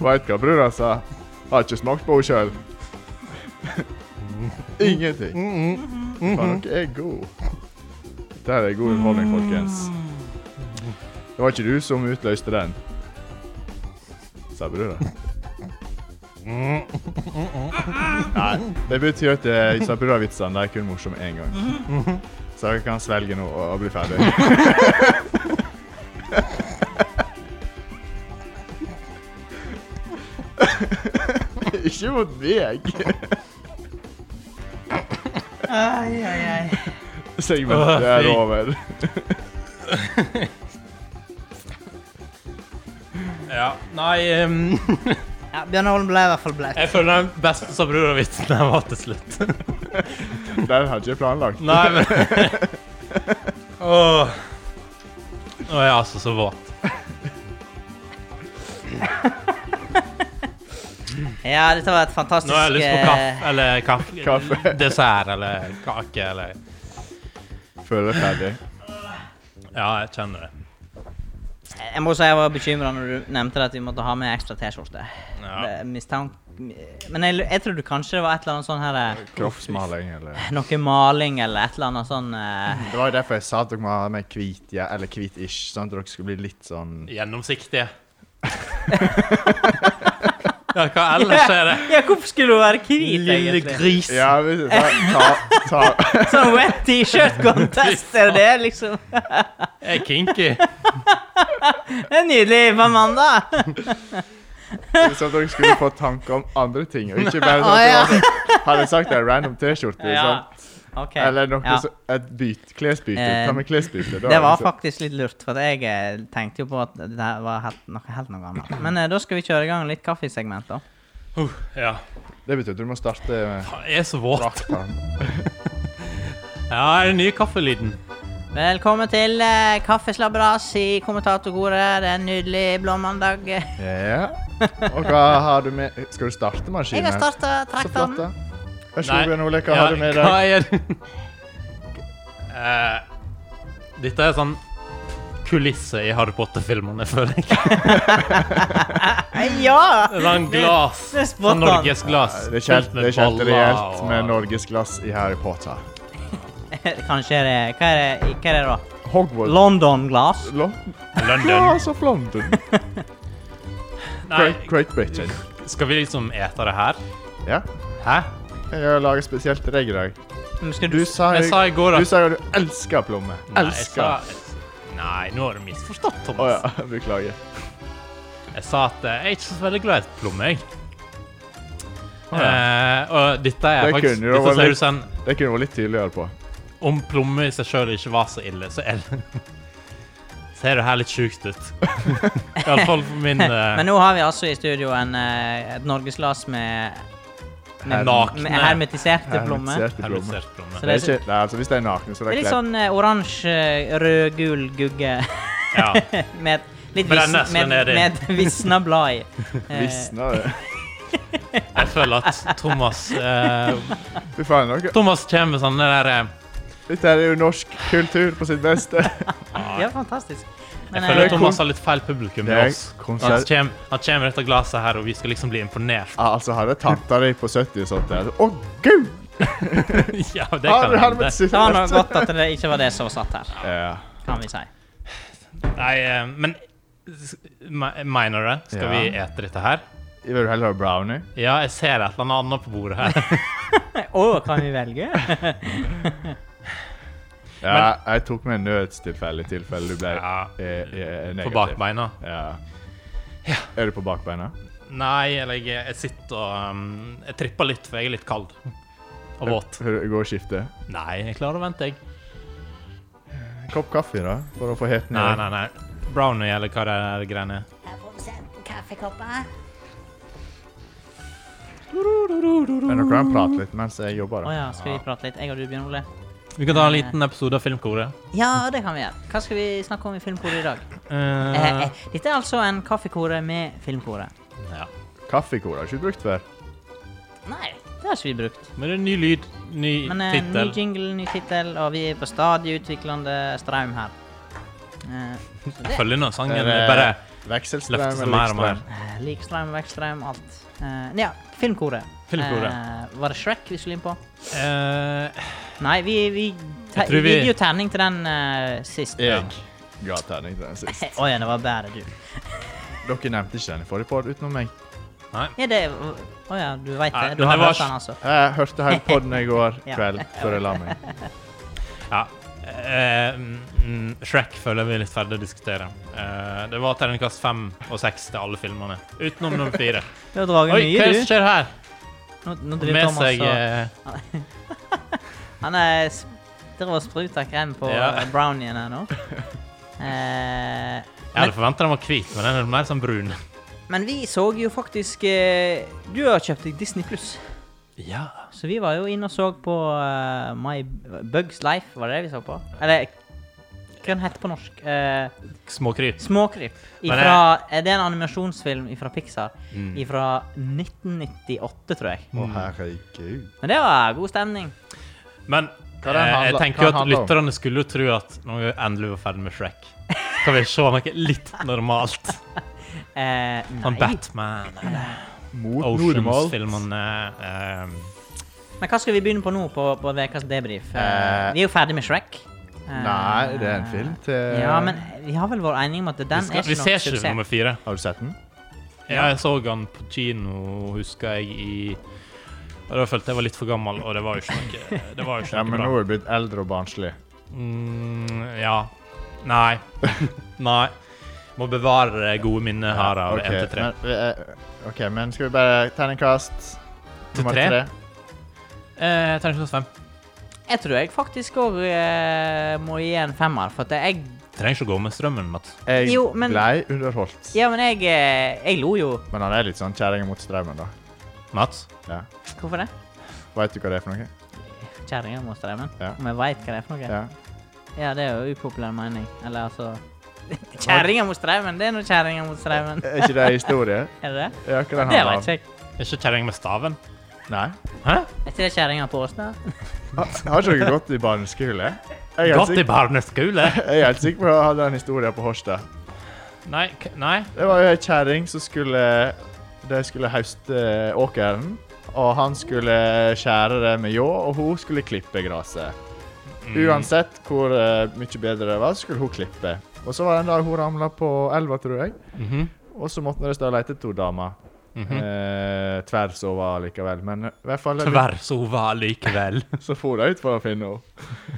S1: Veit hva brura sa? Har ikke smakt på henne sjøl. Ingenting. Faen, dere er gode. Dette er god underholdning, folkens. Det var ikke du som utløste den. Sa brura. Nei, det betyr at eh, sa brura-vitsene de er kun morsomme én gang. Så dere kan svelge nå og og bli ferdig. ikke mot meg. *laughs*
S2: Ai, ai, ai.
S1: Segmentet er
S3: Åh, fy.
S1: over.
S3: Ja, nei ehm,
S2: Ja, Bjørnar Holm ble i hvert fall blaut.
S3: Jeg føler den beste sa brorvitsen her var til slutt.
S1: Den hadde jeg ikke planlagt.
S3: Nei, men Åh. Nå er jeg altså så våt.
S2: Ja, dette var et fantastisk
S3: Nå har jeg lyst på
S2: eh,
S3: kaffe eller kaffe,
S1: Kaffe.
S3: dessert eller kake eller
S1: Føler jeg ferdig.
S3: Ja, jeg kjenner det.
S2: eh, Jeg må si jeg var bekymra når du nevnte at vi måtte ha med ekstra T-skjorte.
S3: Ja.
S2: Det- mistank- Men jeg, jeg trodde kanskje det var et eller annet sånn her eh,
S1: Kroppsmaling, eller
S2: Noe maling eller et eller annet sånn eh,
S1: Det var jo derfor jeg sa at dere må ha med hvit, ja, eller hvit-ish, sånn at dere skulle bli litt sånn
S3: Gjennomsiktige. Ja, hva ellers er det?
S2: Ja, hvorfor skulle du være hvit,
S3: Lille
S2: egentlig?
S3: gris.
S1: Ja, vi ta, ta, ta.
S2: Sånn wet t-shirt contest, er det liksom?
S3: Jeg er kinky.
S2: Det er nydelig på mandag.
S1: Så at dere skulle få tanker om andre ting, og ikke bare sånn
S2: Å, ja.
S1: at dere hadde- hadde sagt en random T-skjorte.
S2: Ja.
S1: sånn.
S2: OK.
S1: Eller noe
S2: Ja.
S1: så, et byt, klesbyte.
S2: Eh,
S1: Ta med klesbyte. da,
S2: Det var
S1: liksom.
S2: faktisk litt lurt, for jeg eh, tenkte jo på at det her var helt, noe helt noe annet. Men eh, da skal vi kjøre i gang litt kaffesegment, da.
S3: Uh, ja.
S1: Det betyr at du må starte med
S3: Jeg er så våt.
S1: drakten.
S3: Ja, er det nye kaffelyden?
S2: Velkommen til eh, Kaffeslabberas i kommentatorkoret. Det er en nydelig blå mandag. Jeg
S1: Ja. Og hva har du med Skal du starte maskinen?
S2: har starta
S1: Så flott, da.
S2: traktoren.
S1: Vær så god, Bjørn Ole. Hva
S3: ja,
S1: har du med i dag?
S3: Hva er det? Eh, dette er sånn kulisse i Harry Potter-filmene, føler jeg.
S2: Eh, Ja! *laughs*
S3: Det var en glass.
S2: det er spot
S3: Sånn
S2: on.
S3: Norges glass.
S1: sånn Det er ikke helt-
S3: fylt
S1: det er ikke helt
S3: boller
S1: reelt
S3: og-
S1: med norgesglass i Harry Potter.
S2: Kanskje er det Hva er det, hva er det da?
S1: Hogwarts
S2: London-glass?
S1: London.
S3: London.
S1: Glass of London.
S3: Nei,
S1: Great, Great Britain.
S3: skal vi liksom ete det her?
S1: Ja.
S3: Hæ?
S1: Jeg har laget spesielt til deg i dag.
S2: Men Skal du
S1: Du sa
S3: Jeg sa i
S1: du
S3: går at
S1: sa jo du elsker plommer.
S3: Nei, jeg sa-
S1: Elsker.
S3: Nei, nå har du misforstått, Thomas.
S1: Å ja, *laughs* beklager.
S3: Jeg sa at eh, jeg er ikke så veldig glad i et plomme, jeg.
S1: Å ja.
S3: Eh, og dette er
S1: Det
S3: faktisk
S1: kunne jo
S3: Dette sånn-
S1: vært
S3: ser
S1: litt-
S3: ut som
S1: Det kunne vært litt tydeligere på.
S3: om plomme i seg sjøl ikke var så ille, så el ser det her litt sjukt ut. Iallfall for min
S2: Men
S3: eh,
S2: nå har vi altså i studio en, eh, et norgesglass med, med,
S3: Nakne.
S2: med hermetiserte plommer.
S1: Hermetiserte plommer.
S3: hermetiserte plomme.
S2: Så
S1: Det er ikke, nei, altså Hvis de er nakne, så er de
S2: Det er litt
S1: kledd.
S2: sånn eh, oransje, rød, gul gugge *laughs*
S3: Ja.
S2: med et litt
S3: Brennesle
S2: visn- med,
S3: nedi.
S2: med
S3: *laughs*
S2: et visna blad i. Eh,
S1: Visna det.
S3: Jeg føler at Thomas eh,
S1: Fy faen, noe.
S3: Thomas kommer med sånne der eh,
S1: Dette er jo norsk kultur på sitt beste. *laughs*
S2: Ja, fantastisk.
S3: Jeg
S2: Men,
S3: føler
S2: eh,
S1: Det er
S3: Thomas
S1: kon-
S3: har litt feil publikum
S1: Det
S3: med
S1: er
S3: oss. Han
S1: konsert-
S3: kommer, han kommer med dette glasset her, og vi skal liksom bli imponert.
S1: Ja, altså, hadde tanta di på 70 og sånt der Å, gud!
S3: *laughs* ja, det
S1: Har
S3: kan
S1: du
S3: hende.
S2: det var nok godt at det ikke var det som satt her,
S1: Ja.
S2: kan vi si.
S3: Nei, eh, men s- me- mener du det? Skal
S1: Ja.
S3: vi ete dette her?
S1: Jeg Vil du heller ha brownie?
S3: Ja, jeg ser et eller annet på bordet
S1: *laughs*
S3: her.
S2: *laughs* Å, kan vi velge?
S1: Ja, jeg tok med nødstilfelle i tilfelle du ble
S3: Ja,
S1: eh, eh, negativ.
S3: på bakbeina.
S1: Ja. Er du på bakbeina?
S3: Nei, eller jeg, jeg sitter og um, Jeg tripper litt, for jeg er litt kald. Og våt.
S1: Hører du- Gå og skifte.
S3: Nei, jeg klarer å vente, jeg.
S1: En kopp kaffe, da? For å få heten
S3: Nei, nei, nei. Brownie, eller hva det er greiene er.
S4: Her får vi se en kaffekopp her.
S1: Men dere kan prate litt mens jeg jobber.
S2: *laughs* Å
S1: da.
S2: ja, skal vi prate litt? Jeg og du, Bjørn Ole?
S3: Vi kan ta en liten episode av Filmkoret.
S2: Ja, det kan vi gjøre. Hva skal vi snakke om i Filmkoret i dag? Eh,
S3: Eh,
S2: eh, dette er altså en kaffekore med Filmkoret.
S3: ja.
S1: Kaffekor har jeg ikke brukt før.
S2: Nei, det har ikke vi brukt.
S3: Men det er ny lyd, ny
S2: Men eh, ny
S3: tittel.
S2: jingle, ny tittel, og vi er på stadig utviklende strøm her. Eh,
S3: Jeg følger nå sangen.
S1: Er
S3: jeg
S1: det
S3: Bare
S1: Vekselstrøm
S3: løfter seg
S1: eller
S3: mer og mer.
S1: likstrøm?
S2: eh, Likstrøm, vekstrøm, alt. Eh, ja, Filmkoret.
S3: Filmkoret.
S2: Eh, var det Shrek vi skulle inn på?
S3: Eh,
S2: Nei, vi, vi, te
S3: Jeg tror
S2: vi...
S3: vi-
S2: gir jo terning til den eh, sist.
S1: Jeg ga terning til den sist.
S2: Å ja, det var bare du.
S1: Dere nevnte ikke den i forrige pod utenom meg.
S3: nei.
S2: Ja, det Å ja, du veit
S3: Nei,
S2: det. Du
S3: det
S2: har
S3: var-
S2: hørt den, altså.
S1: Jeg hørte hele poden i går
S3: *laughs*
S2: Ja.
S1: kveld før jeg la meg.
S3: Ja. Eh, mm, Shrek føler vi er litt ferdig å diskutere. Eh, det var terningkast fem og seks til alle filmene. Utenom nummer
S2: *laughs*
S3: fire.
S2: Du har draget
S3: Oi, hva
S2: mye,
S3: er det som
S2: du.
S3: skjer her?
S2: Nå, nå driver
S3: Med
S2: Thomas
S3: seg
S2: og
S3: eh,
S2: Han er s- driver og spruter krem på
S3: Ja.
S2: eh, brownien her
S3: *laughs*
S2: nå. Eh,
S3: Jeg hadde forventa den var hvit, men den er mer sånn brun.
S2: men vi så jo faktisk eh, Du har kjøpt deg Disney Pluss.
S3: Ja.
S2: Så vi var jo inne og så på eh, My Bugs Life, var det det vi så på? Eller hva den heter på norsk? Eh,
S3: Småkryp.
S2: Småkryp.
S3: Men
S2: Ifra, er det en animasjonsfilm fra Pixar? Fra 1998, tror jeg.
S1: Å, herregud.
S2: Men det var god stemning.
S3: Men
S1: Hva den
S3: eh, jeg
S1: handler-
S3: tenker
S1: hva
S3: jo
S1: den
S3: at
S1: handler om?
S3: lytterne skulle jo tro at når vi endelig var ferdig med Shrek, skal vi se noe litt normalt.
S2: Eh,
S3: Sånn
S2: nei.
S3: Batman,
S1: Mot normalt.
S3: Oceans-filmene eh,
S2: Men hva skal vi begynne på nå på, på ukas debrief? Eh,
S1: Eh,
S2: vi er jo ferdig med Shrek. Eh,
S1: Nei, det er en film til
S2: Ja, men vi har vel vært enige om at den
S3: skal,
S2: er
S3: Vi
S2: ikke
S3: ser
S2: noe
S3: ikke
S2: suksess.
S3: nummer fire.
S1: Har du sett den?
S3: Ja, jeg så han på kino, husker jeg, i og Da følte jeg var litt for gammel, og det var jo ikke noe, det var jo ikke
S1: Ja,
S3: noe
S1: men nå
S3: bra.
S1: er du blitt eldre og barnslig.
S3: Mm, ja. Nei. *laughs* Nei. Må bevare det gode minnet her av
S1: Ok,
S3: 1 til 3.
S1: Men, vi er- OK, men skal vi bare terningkast
S3: Til
S1: nummer
S3: tre?
S1: tre?
S3: Eh, Terningkast fem.
S2: Jeg tror jeg faktisk òg eh, må gi en femmer, for at jeg
S3: Trenger ikke å gå med strømmen, Mats.
S1: Jeg
S2: Jo, men-
S1: blei underholdt.
S2: Ja, men jeg, eh, jeg lo jo.
S1: Men han er litt sånn kjerring mot strømmen, da.
S3: Mats?
S1: Ja.
S2: Hvorfor det?
S1: Veit du hva det er for noe?
S2: Kjerringa mot strømmen.
S1: Ja.
S2: Om jeg veit hva det er for noe?
S1: Ja.
S2: Ja, det er jo upopulær mening. Eller altså Kjerringa mot strømmen! Det er nå kjerringa mot strømmen.
S1: Er ikke det en historie?
S2: Er det det?
S1: Ja, hva den
S2: Det
S1: handler
S2: veit
S1: om?
S2: ikke jeg.
S3: Er ikke kjerring med staven?
S1: Nei.
S3: Hæ?
S2: Er ikke det kjerringa på Åsna?
S1: Har, har ikke dere gått i barneskole? Jeg er helt
S3: Gått i
S1: sikker-
S3: barneskole?
S1: jeg er helt sikker på at jeg hadde den historien på Horstad.
S3: *laughs* Nei, k nei.
S1: Det var jo ei kjerring som skulle De skulle høste åkeren. Og han skulle skjære det med ljå, og hun skulle klippe gresset.
S3: Mm.
S1: Mm. Uansett hvor eh, mye bedre det var, så skulle hun klippe. Og så var det en dag hun ramla på elva, tror jeg.
S3: Mhm.
S1: Og så måtte de stå og lete etter to damer. eh, tvers over likevel. Men i hvert fall
S3: Tvær sova likevel.
S1: *laughs* så for de ut for å finne henne.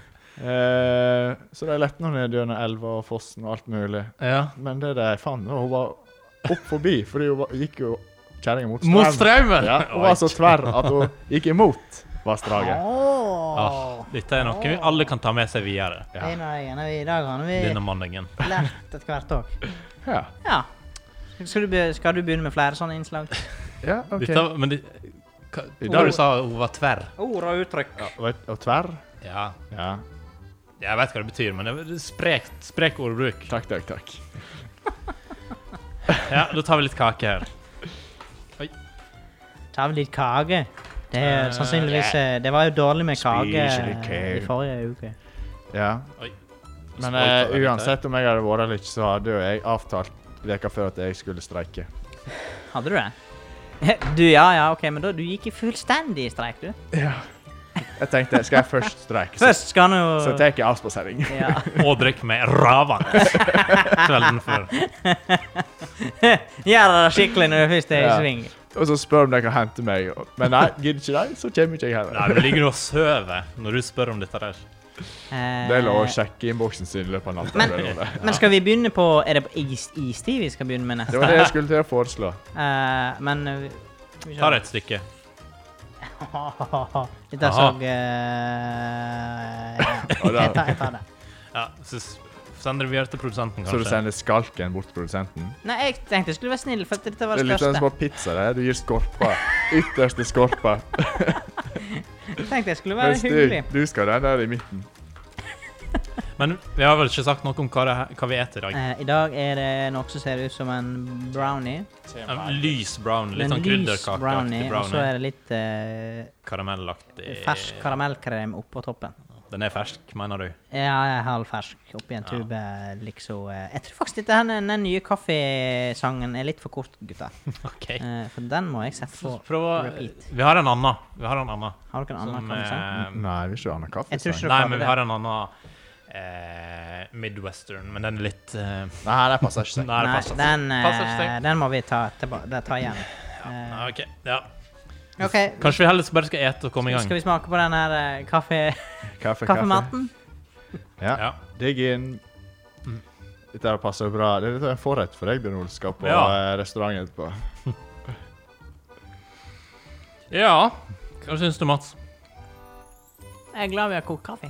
S1: *laughs* Eh, så de lette nå ned gjennom elva og fossen og alt mulig.
S3: *laughs* Ja.
S1: Men det de fant, og hun var opp forbi, fordi hun var, gikk jo kjerringa mot
S3: Mot
S1: strømmen.
S3: strømmen!
S1: Ja, hun var så tverr at *laughs* hun gikk imot vassdraget.
S2: Åh.
S3: Ah, dette er noe vi alle kan ta med seg videre.
S1: Ja.
S2: En av de greiene vi- I dag har
S3: Denne
S2: vi
S3: mandagen.
S2: lært etter hvert òg.
S1: Ja.
S2: Ja. Skal du, be- skal du begynne med flere sånne innslag?
S1: ja, ok.
S3: Dette, men det, hva,
S1: I
S3: hva
S1: dag-
S3: du sa hun var tverr.
S2: Ord og uttrykk.
S1: Og, et- og tverr.
S3: Ja,
S1: Ja.
S3: jeg vet hva det betyr, men det er sprekt, sprek ordbruk.
S1: Takk, takk, takk.
S3: Ja, da tar vi litt kake her.
S2: Ta vel litt kake. Det er
S3: Eh,
S2: sannsynligvis eh, Det var jo dårlig med kake
S1: Spis litt
S2: eh, i
S1: kake.
S2: forrige uke.
S1: Ja.
S3: Oi.
S1: Men
S3: Spoilt
S1: eh,
S3: av deg,
S1: uansett om jeg hadde vært eller ikke, så hadde jo jeg avtalt veka før at jeg skulle streike.
S2: Hadde du det? Eh, Du, ja, ja, OK, men da, du gikk i fullstendig streik, du.
S1: Jeg tenkte, skal jeg først streike,
S2: *laughs*
S1: så,
S2: Først skal han
S1: så
S2: jo
S1: tar jeg avspasering.
S2: ja.
S3: dette. Og drikk med
S1: *laughs*
S3: ravan kvelden før.
S2: Gjør det skikkelig når du først er i
S1: Ja.
S2: sving.
S1: Og så spør om de kan hente meg. og- Men nei, gidder ikke de, så kommer ikke jeg
S3: Nei,
S1: heller.
S3: men ligger du og sover når du spør om dette der?
S2: Eh,
S1: Det er lov å sjekke innboksen sin i løpet av natta.
S2: Men-
S1: det er lov det.
S2: Men skal vi begynne på Er det på is, istid vi skal begynne med
S1: Det
S2: neste?
S1: var det jeg skulle til å foreslå.
S2: Eh, men eh, vi- vi *laughs*
S3: Ta deg et stykke.
S2: Dette
S3: Aha.
S2: så eh, ja.
S1: Og da-
S2: Jeg tar- Jeg tar det.
S3: Ja, så s- sender vi her til produsenten,
S1: Så du
S3: kanskje.
S1: sender skalken bort til produsenten?
S2: Nei, jeg tenkte jeg skulle være snill, for dette var
S1: Det er
S2: det
S1: litt sånn som
S2: største.
S1: på pizza. det. Du gir skorpa. Ytterste
S2: *laughs*
S1: skorpa.
S2: Jeg tenkte jeg skulle være
S1: Mens du,
S2: hyggelig.
S1: du skal den der i midten.
S3: Men vi har vel ikke sagt noe om hva, det, hva vi eter i dag.
S2: Eh, I dag er det noe som ser ut som en brownie.
S3: En lys brownie. Litt
S2: En lys brownie,
S3: sånn krydderkakeaktig
S2: og så er
S3: brownie. Eh.
S2: det litt eh,
S3: Karamellaktig.
S2: fersk karamellkrem oppå toppen.
S3: Den er fersk, mener
S2: *laughs*
S3: du?
S2: Ja, jeg er halvfersk oppi en
S3: Ja.
S2: tube, liksom. eh, Jeg tror faktisk dette her, den den nye kaffesangen er litt for kort, gutta.
S3: OK.
S2: Eh, For den må jeg sette på.
S3: Prøv å
S2: repeat.
S3: Vi har en annen. Vi har en annen.
S2: Har dere en annen
S3: Som,
S2: kaffesang?
S3: eh,
S1: Nei, vi skal ha noe kaffe.
S2: Jeg tror ikke
S1: sånn.
S3: Nei,
S2: klarte Mm.
S3: men
S2: det.
S3: vi har en annen eh, midwestern, men den er litt eh,
S1: Nei, det passer ikke.
S3: Nei, det
S2: Nei,
S3: passer ikke.
S2: den, eh,
S3: Passer ikke seg.
S2: den må vi ta, tilba- det- ta igjen.
S3: Ja, OK. Ja.
S2: Eh, OK,
S3: Kanskje vi heller bare skal ete og komme i gang.
S2: skal vi smake på den her eh, kaffe,
S1: Kaffe, kaffe.
S2: kaffematen?
S1: Ja.
S3: Ja.
S1: Digg inn.
S3: Mm.
S1: Dette her passer jo bra. Det er en forrett for deg, Bjørn Ole, skal på
S3: Ja.
S1: eh, restauranten etterpå.
S3: ja. Hva syns du, Mats?
S2: Jeg er glad vi har kokt kaffe.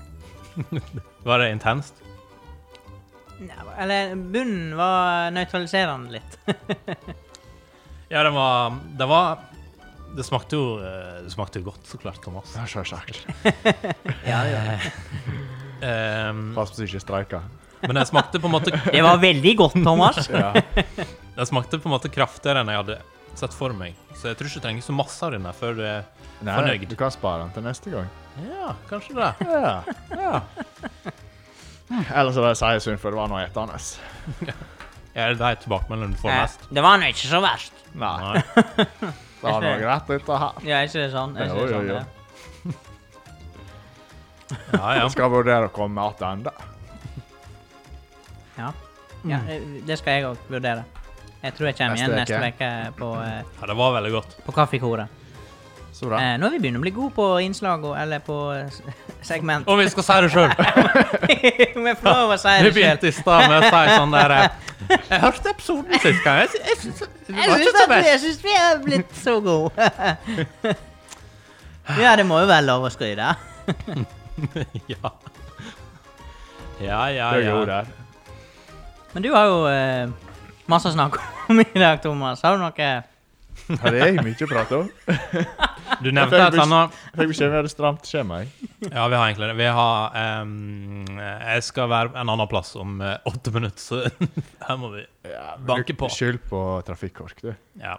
S3: Var det intenst?
S2: Ja, Eller bunnen var nøytraliserende litt.
S3: Ja, det var Det, var, det smakte jo eh, Det smakte jo godt, så klart, Thomas.
S1: Ja, Sjølsagt.
S3: *laughs* Ehm,
S1: Pass på så du ikke streiker.
S3: men den smakte på en måte
S2: Det var veldig godt, Thomas.
S1: Ja.
S3: Den smakte på en måte kraftigere enn jeg hadde sett for meg. Så jeg tror ikke du trenger så masse av den her før du er
S1: *laughs* Nei,
S3: Fornøyd.
S1: du kan spare den til neste gang.
S3: Ja, kanskje det.
S1: Ja. *laughs* Ellers er det sier synd, for det var noe etende.
S3: Er det de tilbakemeldingene du får
S2: Eh,
S3: mest?
S2: Det var nå ikke så verst.
S1: Nei,
S3: Nei.
S1: det var noe greit, dette her.
S2: Ja, er ikke det sånn? Er ikke
S1: Jo,
S2: det
S1: jo,
S2: sånn
S1: jo.
S2: det?
S3: Ja, ja.
S1: Jeg skal vurdere å komme tilbake.
S2: Ja. ja, eh, det skal jeg òg vurdere. Jeg tror jeg kommer igjen
S1: Neste
S2: neste
S1: uke.
S2: uke på, eh,
S3: ja, det var veldig godt.
S2: på Kaffekoret.
S1: Så bra.
S2: Eh, nå er vi begynner å bli gode på innslag og eller på eh, s- *laughs* segment.
S3: Om vi skal si det sjøl!
S2: Vi får lov å si
S3: Vi
S2: det sjøl.
S3: begynte i stad med å si sånn der eh, Jeg hørte episoden sist gang. Jeg, sy- jeg, syns- det var
S2: Jeg
S3: ikke så verst.
S2: syns vi er blitt så gode. *laughs* ja, det må jo være lov å skryte.
S3: *laughs* Ja. Ja, ja,
S1: Det er
S3: ja.
S1: god der.
S2: Men du har jo eh, masse å snakke om *laughs* i dag, Thomas. Har du noe
S1: Her er jeg mye å prate om.
S3: Du nevnte et annet
S1: Jeg fikk beskjed om jeg hadde stramt skjema. jeg.
S3: Ja, vi har egentlig det. Vi har ehm, Jeg skal være en annen plass om eh, åtte minutter, så *laughs* her må vi
S1: Ja, men
S3: Banke
S1: du-
S3: på.
S1: Skyld på trafikkork, du.
S3: Ja.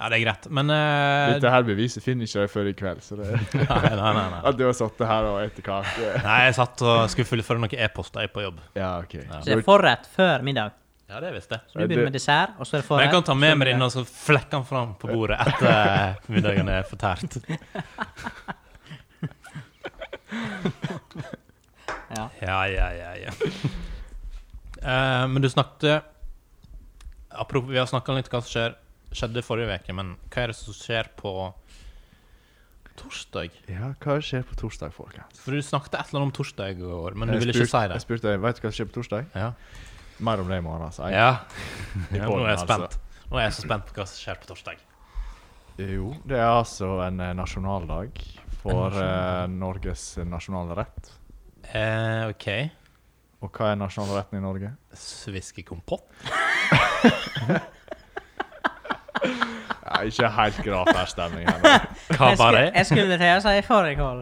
S3: Ja, det er greit, men eh,
S1: Dette her beviset finner ikke de før i kveld. Så det,
S3: Nei, nei, nei. nei.
S1: at du har sittet her og spist kake.
S3: Nei, jeg satt og skulle fullføre noen e-poster jeg på jobb.
S1: Ja, OK.
S3: Ja.
S2: Så det er forrett før middag.
S3: Ja, det visste jeg.
S2: Så du begynner med dessert, og så er Altså, det
S3: Men
S2: forrett.
S3: jeg kan ta med meg den
S2: så
S3: og så flekke den fram på bordet etter middagen er fortært.
S2: Ja.
S3: Ja, ja, ja, ja. *laughs* Eh, men du snakket Apropos, vi har snakka litt om hva som skjer, skjedde forrige uke, men hva er det som skjer på torsdag?
S1: Ja, hva skjer på torsdag, folkens?
S3: For du snakket et eller annet om torsdag i går, men du
S1: Jeg
S3: ville ikke si
S1: spurte-
S3: det.
S1: Jeg spurte deg, vet du hva som skjer på torsdag?
S3: Ja.
S1: Mer om det i morgen, altså. Jeg-
S3: ja.
S1: *laughs* i
S3: ja nå
S1: podden,
S3: er jeg
S1: altså.
S3: spent. Nå er jeg så spent på hva som skjer på torsdag.
S1: Jo, det er altså en eh, nasjonaldag for eh, Norges nasjonalrett.
S3: Eh, OK.
S1: Og hva er nasjonalretten i Norge?
S3: Sviskekompott?
S1: Ja, ikke helt graf her stemning
S3: *laughs*
S1: her.
S3: Hva var
S2: jeg,
S3: det?
S2: jeg skulle til å si fårikål,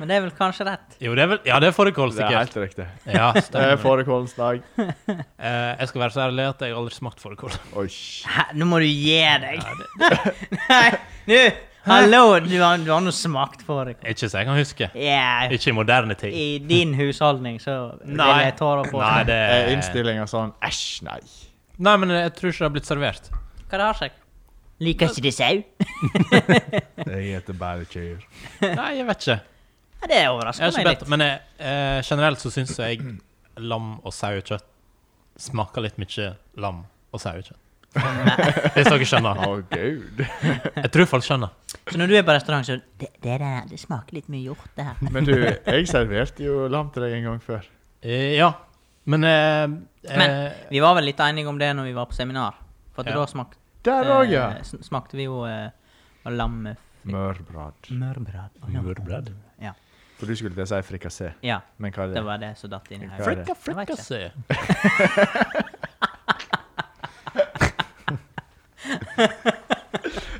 S2: men det er vel kanskje rett.
S3: Jo, det er vel Ja, det er fårikål,
S1: Det er
S3: sikkert.
S1: helt riktig. *laughs*
S3: Ja,
S1: Det er
S3: stemmer.
S1: fårikålens dag.
S3: Eh, jeg skal være så ærlig at jeg har aldri smakt fårikål.
S1: Oi.
S2: *laughs* Hæ, nå må du gi deg! *laughs* Nei, du! Hallo! Du har, du har nå smakt fårikål.
S3: Ikke så jeg kan huske.
S2: Ja,
S3: Ikke i moderne tid.
S2: I din husholdning så vil
S3: Nei.
S2: jeg tårer på.
S3: Nei, det
S1: Er innstillinga sånn Æsj, nei.
S3: Nei, men jeg tror ikke det har blitt
S2: *laughs*
S3: servert.
S2: Hva det har seg? Liker ikke de sau?
S1: Jeg heter bare kyr.
S3: Nei, jeg vet ikke.
S2: Ja, det
S3: Jeg
S2: overrasker
S3: har ikke
S2: meg
S3: bedt,
S2: litt.
S3: men jeg, eh, generelt så syns jeg lam og sauekjøtt smaker litt mye lam og sauekjøtt. Hvis dere skjønner.
S2: *laughs*
S1: Å, gud.
S3: Jeg tror folk skjønner.
S2: Så når du er på restaurant, så det, det, der, det smaker litt mye hjort, det her.
S1: Men du, jeg serverte jo lam til deg en gang før.
S3: Eh, ja. Men, eh,
S2: Men-
S3: eh,
S2: Vi var vel litt enige om det når vi var på seminar. For at
S3: Ja.
S2: da smakte,
S1: Der òg, ja.
S2: eh, sn- smakte vi jo eh, lam med
S1: Mørbrad.
S2: mørbrad. Å, ja.
S3: Mørbrad?
S2: Ja.
S1: For du skulle til å si frikassé.
S2: ja.
S1: Men hva er
S2: Det
S1: det?
S2: var det som datt inn her.
S1: Hva er det?
S2: Jeg
S3: Frikka, frikka,
S2: vet
S3: se.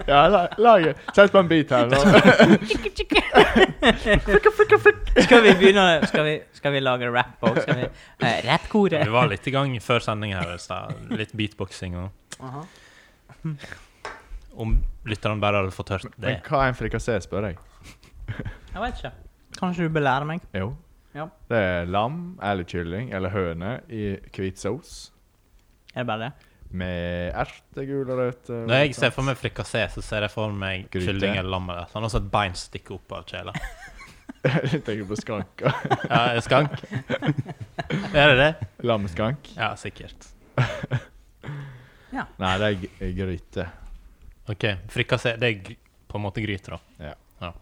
S1: Ja, la- lag Sett på en bit her nå.
S2: Skal vi begynne Skal vi, skal vi lage rap òg? Skal vi eh, Rappkore.
S3: Vi var litt i gang før sending her. i stad. Litt beatboxing og
S2: Aha.
S3: Om lytterne bare hadde fått hørt
S1: Men
S3: det.
S1: hva er en frikassé, spør jeg.
S2: Jeg vet ikke. Kanskje du bør lære meg?
S1: Jo.
S2: Ja.
S1: Det er lam eller kylling eller høne i hvit saus
S2: Er det bare det?
S1: med ertegul og eh, røtter. og
S3: Når jeg
S1: sånt.
S3: ser for meg frikassé, så ser jeg for meg
S1: Gryte.
S3: kylling eller lam. eller Sånn, og så et bein stikker opp av kjela.
S1: *laughs* Jeg tenker på skank.
S3: Ja, er det skank? er det det?
S1: Lammeskank.
S3: Ja, sikkert.
S1: Nei, det er g- eh, gryte.
S3: OK. Frikassé, det er gr- på en måte gryter, da.
S1: Ja.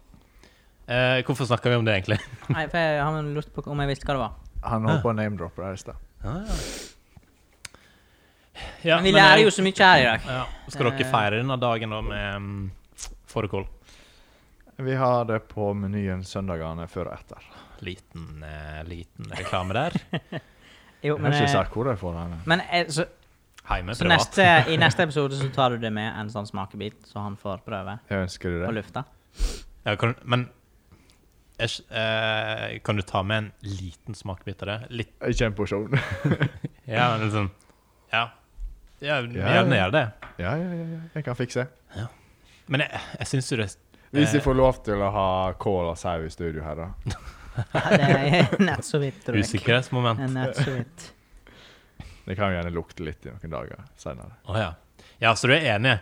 S3: Eh, hvorfor snakker vi om det, egentlig?
S2: Nei, for jeg har lurt på om jeg visste hva det var.
S1: Han holdt på å name-droppe der i stad.
S3: Ja,
S2: Men vi
S3: men, eh,
S2: lærer jo Eh. så mye her i dag.
S3: ja, Skal dere feire denne dagen da med um, fårikål?
S1: Vi har det på menyen søndagene før og etter.
S3: Liten, eh, liten reklame der.
S2: *laughs* Jo,
S1: Jeg
S2: men,
S1: har ikke
S2: eh,
S1: sagt hvor jeg får den.
S2: men eh, så,
S3: Heime
S2: så
S3: privat.
S2: neste, i neste episode så tar du det med en sånn smakebit, så han får prøve
S1: Jeg ønsker
S2: og
S1: du det.
S2: lufte.
S3: Ja, kan, men er ikke- eh, kan du ta med en liten smakebit av det? Litt,
S1: Ikke en porsjon.
S3: ja, men liksom, ja. ja,
S1: sånn. Ja,
S3: gjerne
S1: ja.
S3: gjør det.
S1: Ja, ja, ja, ja. Jeg kan fikse.
S3: Men jeg, jeg syns jo det
S1: Hvis
S3: Eh.
S1: vi får lov til å ha kål og sau i studio her, da.
S2: Ja, det er nett så vidt,
S3: er
S2: tror jeg.
S3: usikkerhetsmoment.
S2: Det er Nett så vidt.
S1: Det kan jo gjerne lukte litt i noen dager senere.
S3: Å ja. ja, så du er enig?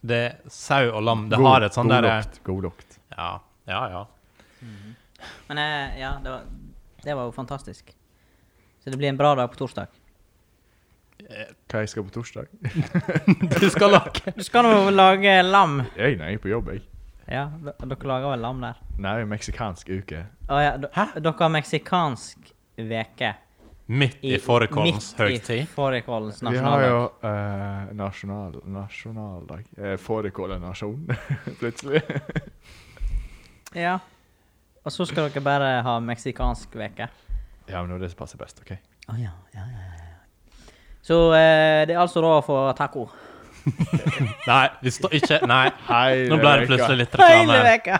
S3: Det Sau og lam, det
S1: God-
S3: har et sånn
S1: god
S3: derre
S1: lukt, God lukt.
S3: Ja, ja. *laughs* ja.
S2: Men eh, ja, det var, det var jo fantastisk. Så det blir en bra dag på torsdag.
S1: Hva jeg skal på torsdag?
S3: Du skal lage
S2: Du skal nå lage lam.
S1: Jeg nei, jeg er på jobb, jeg.
S2: Ja, d- dere lager vel lam der?
S1: Nei, meksikansk uke.
S2: Å ja, d- dere har meksikansk veke.
S3: midt i fårikålens høytid.
S2: Midt i fårikålens
S1: Vi har jo
S2: nasjonaldag.
S1: eh, nasjonal, nasjonaldag. Eh, Fårikål er nasjon, *laughs* plutselig.
S2: Ja. Og så skal dere bare ha meksikansk veke.
S1: Ja, men det er det som passer best, OK?
S2: Å ja, ja, ja, ja. Så eh, det er altså råd for taco.
S3: Nei, vi står ikke
S1: *laughs*
S3: Nei.
S1: Hei,
S3: Nå ble det plutselig litt reklame.
S2: Hele
S3: her.
S2: veka!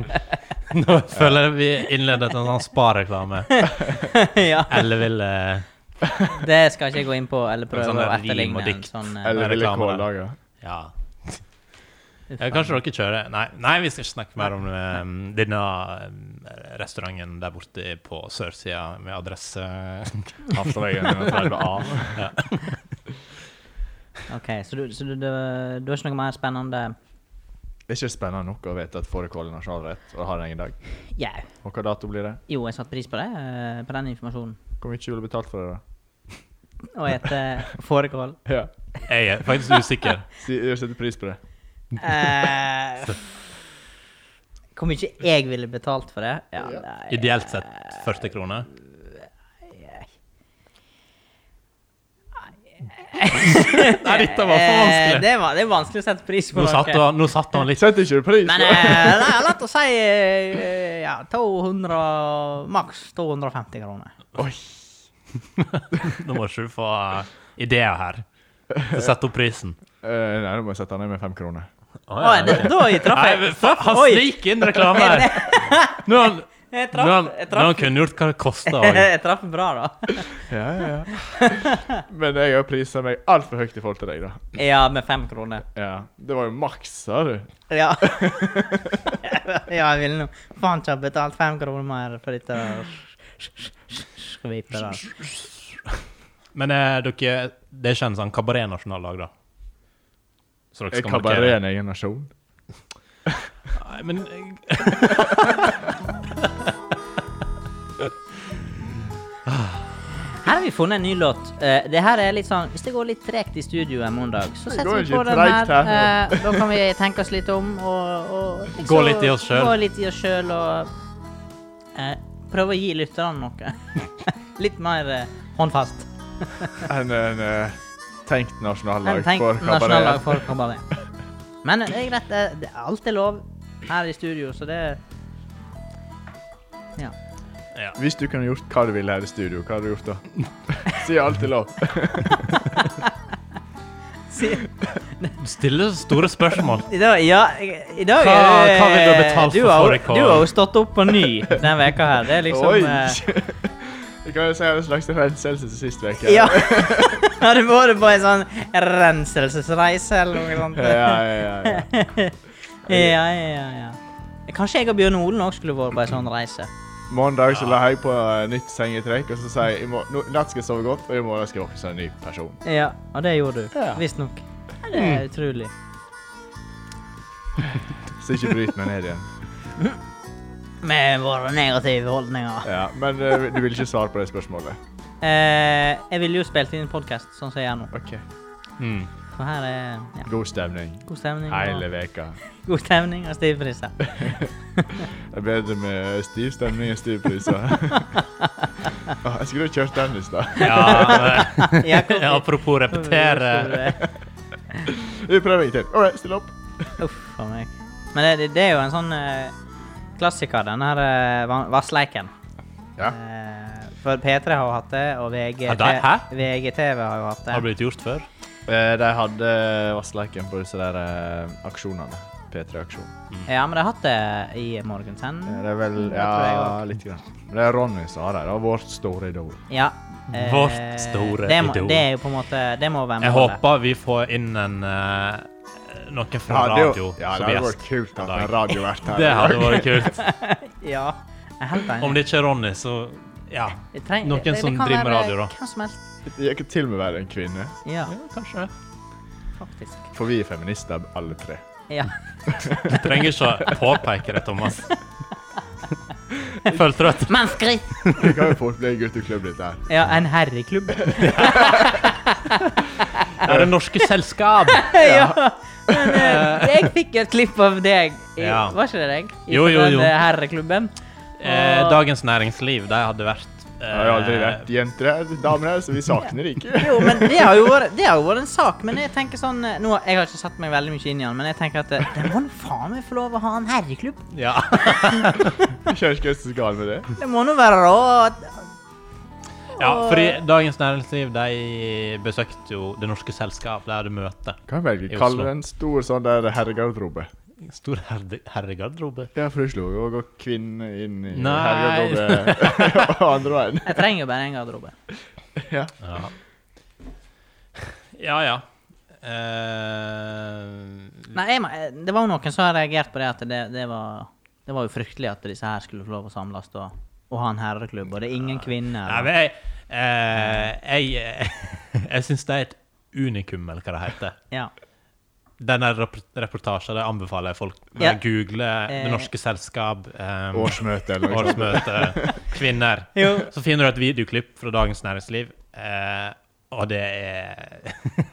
S2: *laughs*
S3: Nå føler jeg vi innledet en sånn spa-reklame.
S1: *laughs*
S2: ja.
S3: Eller eh, ville
S2: Det skal ikke jeg gå inn på eller prøve
S3: sånn
S2: å
S3: der rim
S2: etterligne.
S3: og
S2: en
S3: dikt.
S2: Sånn, eh,
S1: Eller ville
S3: reklame, da.
S1: kåldager.
S3: Ja. Ja, kanskje dere kjører Nei, nei vi skal ikke snakke mer om eh, denne eh, restauranten der borte på sørsida med
S2: *laughs*
S3: adresse
S1: Havstadvegen 30A.
S2: OK, så, du, så du, du, du har ikke noe mer spennende
S1: Det er ikke spennende nok å vite at fårikål er nasjonalrett, og det har den i dag.
S2: Jau.
S1: Og hva dato blir det?
S2: Jo, jeg satte pris på det, eh, på den informasjonen.
S1: Hvor mye vil du betalt for det, da?
S2: Og ete fårikål.
S1: Ja.
S3: Jeg er faktisk usikker.
S1: Si, jeg setter pris på det.
S2: Eh, Hvor mye jeg ville betalt for det? Ja, nei,
S3: Ideelt sett 40 kroner. Nei, dette var for
S2: eh,
S3: vanskelig.
S2: det, var, det er vanskelig å sette pris på.
S3: Nå satt
S2: noe.
S3: han, nå satt han litt
S1: Setter ikke du pris på
S2: Men
S1: det?
S2: eh, nei, la oss si eh, ja, 200 Maks 250 kroner.
S1: Oi.
S3: Nå må ikke du få eh, ideer her. Så Sett opp prisen.
S1: *laughs* Eh, nei, nå må jeg sette den ned med fem kroner.
S2: Oi, da, da traff
S3: Nei,
S2: jeg.
S3: men fa- han
S2: Oi.
S3: snek inn reklame
S2: *laughs*
S3: her! Nå har han,
S2: Jeg
S3: nå har han,
S2: traff, *laughs* jeg
S3: nå har han
S2: traff,
S3: kunngjort hva det kosta
S2: *laughs*
S3: òg.
S2: jeg traff bra, da.
S1: Ja, ja, ja.
S2: *laughs*
S1: Men jeg har prisa meg altfor høyt i forhold til deg, da.
S2: Ja, med fem kroner.
S1: Ja. Det var jo maks, sa du.
S2: Ja. *laughs* ja, jeg ville nå faen ikke ha betalt fem kroner mer for dette skvipet der.
S3: Men eh, dere, det er ikke en sånn kabaret-nasjonaldag, da? Så
S1: Er
S3: dere skal
S1: kabaret
S3: markere?
S1: en egen nasjon?
S3: Nei, men eh,
S2: Her har vi funnet en ny låt. Eh, det her er litt sånn Hvis det går litt tregt i studio en mandag, så
S1: Det
S2: setter
S1: går
S2: vi på
S1: ikke
S2: den
S1: tregt
S2: her.
S1: her.
S2: eh, da kan vi tenke oss litt om og, og liksom,
S3: Gå litt i oss selv.
S2: Gå litt i oss sjøl og eh, prøve å gi lytterne noe. *laughs* litt mer eh, håndfast
S1: En, en eh, tenkt nasjonallag
S2: enn tenkt
S1: for
S2: nasjonallag
S1: kabaret.
S2: for kabaret. Men det er greit. Det, det, alt er lov her i studio, så det Ja.
S3: ja.
S1: Hvis du kunne gjort hva du ville her i studio, hva hadde du gjort da?
S2: *laughs*
S1: Si alt er lov.
S2: Si-
S3: Du stiller så store spørsmål.
S2: I dag, ja, i- i dag
S3: Hva-
S2: er det-
S3: hva vil du ha betalt for
S2: har-
S3: fårikål?
S2: Du har jo stått opp på ny den veka her. Det er liksom
S1: Oi!
S2: eh,
S1: *laughs* Vi kan jo si en slags renselse til sist uke.
S2: Ja. *laughs* Har du vært på en sånn renselsesreise eller noe sånt?
S1: Ja, ja, ja, ja.
S2: *laughs* ja, ja, ja. Kanskje jeg og Bjørn Olen òg skulle vært på en sånn reise.
S1: Mandag så la jeg på eh, nytt sengetrekk, og så sier jeg i mor- nå- natt skal jeg sove godt, og i morgen skal jeg våkne som en ny person.
S2: Ja, Og det gjorde du.
S1: Ja. Mm.
S2: Visstnok. Ja, Det er utrolig.
S1: Så ikke bryt meg ned igjen.
S2: Med våre negative holdninger.
S1: Ja, men eh, du vil ikke svare på det spørsmålet.
S2: Eh, jeg ville jo spilt inn en podkast sånn som jeg gjør nå.
S1: Ok.
S3: Mm.
S2: For her er ja,
S1: God stemning
S2: god stemning.
S1: hele
S2: Og,
S1: *laughs* veka.
S2: god stemning og stive priser.
S1: Det er bedre med stiv stemning enn stiv *laughs* priser. Å, jeg skulle jo kjørt den i stad.
S3: *laughs* *laughs* Ja,
S2: Ja,
S3: men, apropos
S2: *laughs*
S3: repetere
S1: Vi prøver en gang til. OK, still opp.
S2: Uff a meg. Men det, det, det er jo en sånn eh, klassiker, den her eh, va- vassleiken.
S1: Ja.
S2: Eh, for P3 har jo hatt det, og VG,
S3: Ja, det- hæ?
S2: VGTV har jo hatt det.
S3: har blitt gjort før.
S1: Eh, de hadde Vassleiken på disse der eh, aksjonene. P3-aksjon.
S2: Ja, men de har hatt det i Morgensend.
S1: Det er vel
S2: Det tror jeg
S1: Ja, litt grann. Men Det er Ronny som har det. Det var vårt store idol.
S2: Ja. eh,
S3: Vårt store
S2: det må,
S3: idol.
S2: Det er jo på en måte Det må være
S3: Jeg
S2: målet.
S3: håper vi får inn en eh, noen fra
S1: Ja, det,
S3: radio
S1: ja, det
S3: som
S1: hadde
S3: gjest.
S1: vært kult at en
S3: dag.
S1: radiovert her.
S3: Det hadde vært kult.
S2: Ja. Jeg er helt enig.
S3: Om det ikke er Ronny, så ja.
S2: Jeg trenger-
S3: noen
S2: det- det
S3: som
S2: kan
S3: driver med
S2: være
S3: radio, da.
S2: Hvem som helst.
S1: Jeg kan til og med være en kvinne,
S2: Ja,
S3: ja kanskje.
S2: faktisk.
S1: for vi er feminister alle tre.
S2: Ja.
S3: Du trenger ikke å påpeke det, Thomas. Jeg følte du at
S2: Menneskeri!
S1: Det kan jo fort bli en gutteklubb, dette her.
S2: *laughs* Ja, en herreklubb.
S3: Ja, det norske selskap!
S2: ja. Men eh, jeg fikk jo et klipp av deg. I,
S3: Ja.
S2: Var ikke det deg? I
S3: Jo, jo, jo.
S2: den eh, herreklubben.
S3: Eh, Dagens Næringsliv, de hadde vært eh,
S1: Det har jo aldri vært jenter her, damer her, så vi sakner det ikke. *laughs*
S2: Jo, men det har jo, vært, det har jo vært en sak. Men jeg tenker sånn eh, nå, Jeg har ikke satt meg veldig mye inn i den, men jeg tenker at eh, det må nå faen meg få lov å ha en herreklubb.
S3: Ja.
S1: Skjønner ikke hva som er galt med det.
S2: Det må nå være råd.
S3: ja, fordi Dagens Næringsliv de besøkte jo Det norske selskap. De hadde møte.
S1: Kan jeg
S3: I
S1: velge
S3: Oslo.
S1: kalle det en stor sånn der herregarderobe?
S3: Stor herde- herregarderobe.
S1: Ja, for du slo jo òg kvinner inn i
S3: Nei. *laughs*
S1: herregarderobe og andre veien.
S2: Jeg trenger jo bare en garderobe.
S1: Ja.
S3: *laughs* Ja ja. ja. Eh,
S2: Nei, jeg, må- det var jo noen som har reagert på det at det, det, var, det var jo fryktelig at disse her skulle få lov å samles og, og ha en herreklubb, og det er ingen kvinner.
S3: Nei,
S2: og-
S3: men jeg eh, Jeg, *laughs* jeg syns det er et unikum, eller hva det heter.
S2: ja.
S3: Denne rep- reportasjen det anbefaler jeg folk å
S2: Ja.
S3: google Det
S2: Eh.
S3: norske selskap, eh,
S1: Årsmøte eller noe sånt.
S3: årsmøte, kvinner.
S2: Jo.
S3: Så finner du et videoklipp fra Dagens Næringsliv, eh, og det er *laughs*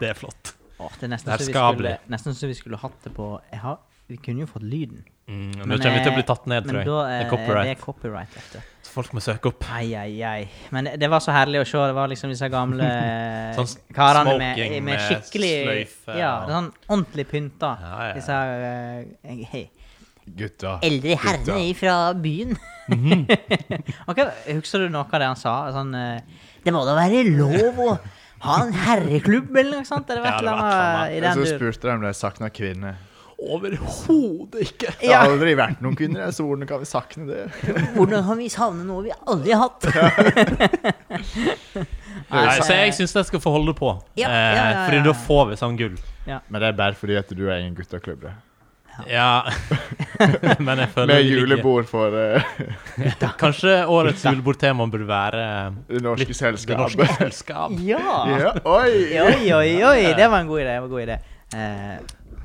S3: Det er flott.
S2: Åh, det er nesten
S3: Det er
S2: så vi
S3: skadelig.
S2: skulle, nesten så vi skulle hatt det på jeg har, Vi kunne jo fått lyden.
S3: Mm, Nå kommer vi til å bli tatt ned,
S2: eh, men
S3: tror jeg.
S2: da
S3: Det
S2: eh,
S3: er
S2: det er
S3: copyright.
S2: copyright vet du.
S3: Så folk må søke opp.
S2: Ai, ai, ai. Men det, det var så herlig å se. Det var liksom disse gamle
S3: *laughs*
S2: eh,
S3: Sånn s-
S2: karene med,
S3: smoking
S2: med
S3: med
S2: skikkelig
S3: sløyfe
S2: Ja,
S3: og-
S2: sånn ordentlig pynta.
S3: Ja, ja, ja.
S2: Disse her eh, hei,
S1: Gutta.
S4: Eldre
S1: Gutta.
S4: herre fra byen.
S3: Mhm.
S2: *laughs* Ok, Husker du noe av det han sa? Sånn eh,
S4: Det må da være lov å ha en herreklubb.
S2: Klubb eller noe sånt? Eller et
S3: Ja, det
S2: eller
S3: var et eller
S2: annet i
S3: annet.
S1: Jeg
S2: den
S1: så
S2: duren.
S1: spurte de om de savna kvinner.
S3: Overhodet ikke!
S1: Det har aldri vært noen kvinner her, så hvordan kan vi savne det?
S4: Hvordan kan vi savne noe vi aldri har hatt?
S3: Nei,
S2: så-
S3: så jeg syns jeg skal få holde på,
S4: Ja,
S3: eh,
S4: ja, ja, ja,
S3: Fordi
S2: ja.
S3: da får vi sånn gull.
S1: Men det er bare fordi at du er i en gutteklubb. det.
S3: Ja. *laughs* Men jeg føler
S1: Med
S3: vi ligger-
S1: julebord for eh,
S3: Kanskje årets julebordtema burde være
S1: det norske
S3: Det
S1: selskapet. *laughs*
S3: norske selskap.
S2: Ja!
S1: Ja, oi!
S2: Oi, oi, oi! Det var en god idé. Det var en god idé. Eh,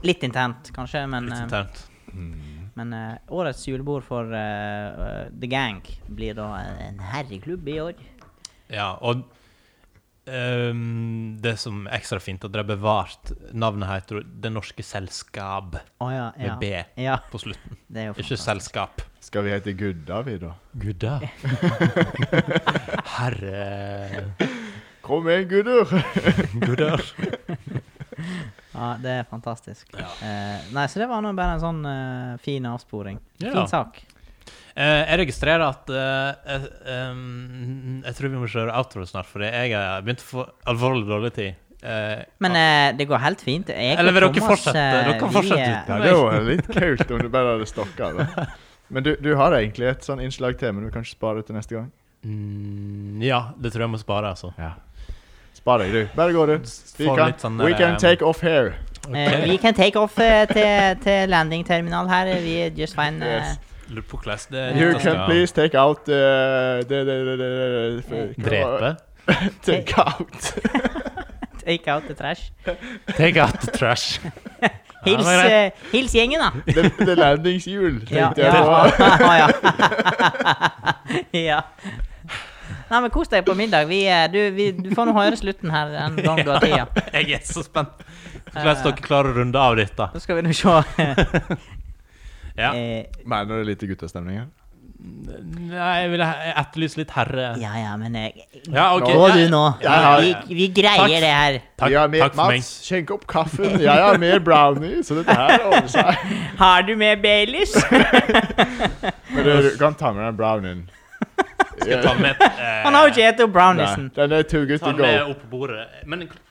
S2: litt internt, kanskje, men
S3: Litt
S2: eh,
S3: internt.
S1: Mm.
S2: Men eh, årets julebord for eh, eh, The Gang blir da en herreklubb i år.
S3: Ja, og ehm, det som er ekstra fint, at det er bevart navnet heter Det norske selskap
S2: Å ja, ja.
S3: Med B.
S2: Ja,
S3: på slutten.
S2: det er jo
S3: Ikke
S2: fantastisk.
S3: selskap.
S1: Skal vi hete Gudda, vi, da?
S3: *laughs* Gudda. Herre
S1: Kom igjen, gutter!
S3: *laughs* Gudder.
S2: Ja, det er fantastisk. Eh, nei, så det var nå bare en sånn eh, fin avsporing.
S3: Ja.
S2: Fin sak.
S3: Eh, jeg registrerer at eh, eh, ehm, Jeg tror vi må kjøre outro snart, fordi jeg har begynt å få alvorlig dårlig tid. Eh,
S2: Men eh, det går helt fint. Jeg og
S3: Eller vil dere
S2: Thomas,
S3: fortsette?
S2: eh,
S3: Dere kan
S2: vi,
S3: fortsette
S2: eh,
S3: uten.
S1: Ja, det var litt kult om du bare hadde stokka
S3: *laughs*
S1: det. Men du, du har egentlig et sånn innslag til, men du kan ikke spare det til neste gang.
S3: mm, ja, det tror jeg må spare, altså.
S1: Spar deg, du. Bare gå, du. Vi
S3: Få
S1: kan,
S3: litt sånn
S1: we
S3: der,
S1: can
S3: um,
S1: take off here.
S2: eh, we can take off eh, til, til landingterminal her. Vi er just fine. eh,
S1: Yes.
S3: Lurer på hvordan det
S1: You can
S3: det skal
S1: please take out uh, det, det, det, det, det,
S3: Mm.
S1: det-
S3: Drepe.
S1: *laughs* Take out.
S2: take out the trash.
S3: *laughs* Take out the
S2: *laughs*
S3: trash. Ja, det
S2: Hils,
S3: var greit.
S2: eh, hils gjengen, da.
S1: Det det er landingshjul,
S2: Ja,
S1: tenkte
S2: ja.
S1: jeg på.
S2: ja. *laughs* ja. Nei, men kos deg på middag. Vi, eh, du, vi, du får nå høre slutten her en gang du har tida.
S3: jeg er så spent.
S2: eh,
S3: Hvordan dere klarer å runde av dette.
S2: Så skal vi nå se.
S3: Ja.
S2: Eh,
S1: Mener du det er litt guttastemning her?
S3: Nei, jeg vil etterlyse litt herre...
S2: ja, ja, men jeg
S3: Ja, ok.
S2: Gå du nå.
S3: Ja, ja,
S2: Vi,
S3: ja.
S2: vi greier det her.
S3: Takk,
S1: ja, mer,
S3: takk for meg.
S1: Mats, skjenk opp kaffen. Jeg har mer brownie, så dette her ordner
S3: *laughs*
S1: seg.
S2: Har du med Baileys?
S1: Men du, du kan ta med den brownien.
S3: Skal ta
S2: *laughs*
S3: med, eh,
S2: Han har jo ikke spist
S1: Nei,
S2: browniesen.
S1: Den er too good
S3: ta
S1: to
S3: den
S1: go.
S3: med opp på bordet. Men vent, jeg-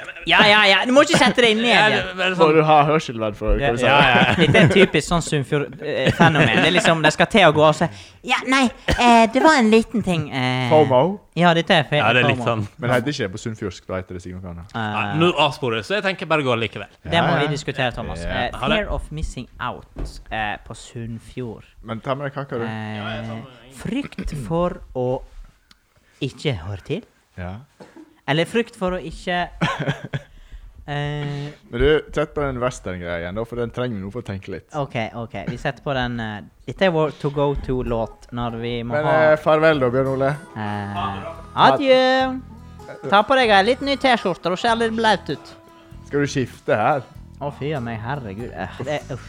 S3: jeg-
S2: Ja, ja, ja. Du må ikke sette deg inn i det.
S3: jeg- bare
S1: Må
S3: sånn-
S1: du ha hørselvern for hva du
S3: Ja,
S1: sier?
S3: ja.
S2: Dette er et typisk sånn Sunnfjord-fenomen. Det er liksom, De skal til å gå og si
S4: Ja,
S2: Nei, eh, det var en liten ting. Eh,
S1: FOMO.
S2: Ja, dette er fe-
S3: ja, det er litt
S2: FOMO.
S3: sånn
S1: Men det heter ikke det på sunnfjordsk, da heter det sikkert noe annet.
S2: Eh,
S3: Nei, Nå avsporer jeg, så jeg tenker bare gå likevel.
S2: Det må
S1: Ja, ja.
S2: vi diskutere, Thomas.
S1: Ja.
S2: Eh,
S3: Ha det.
S2: fear of missing out eh, på Sunnfjord.
S1: Men ta med deg kaka, du.
S2: Eh,
S1: sånn.
S2: frykt for å ikke høre til.
S1: Ja.
S2: Eller frykt for å
S1: *laughs*
S2: ikke eh,
S1: Men du, sett på den western-greia igjen, da, for den trenger vi nå for å tenke litt.
S2: OK, OK. Vi setter på den eh, Dette er vår to go to-låt når vi må
S1: Men
S2: ha
S1: eh, farvel, da, Bjørn Ole.
S2: eh, Adjø. Ta på deg ei litt ny T-skjorte, du ser litt blaut ut.
S1: Skal du skifte her?
S2: Å, fy a meg, herregud. Eh, det, uff.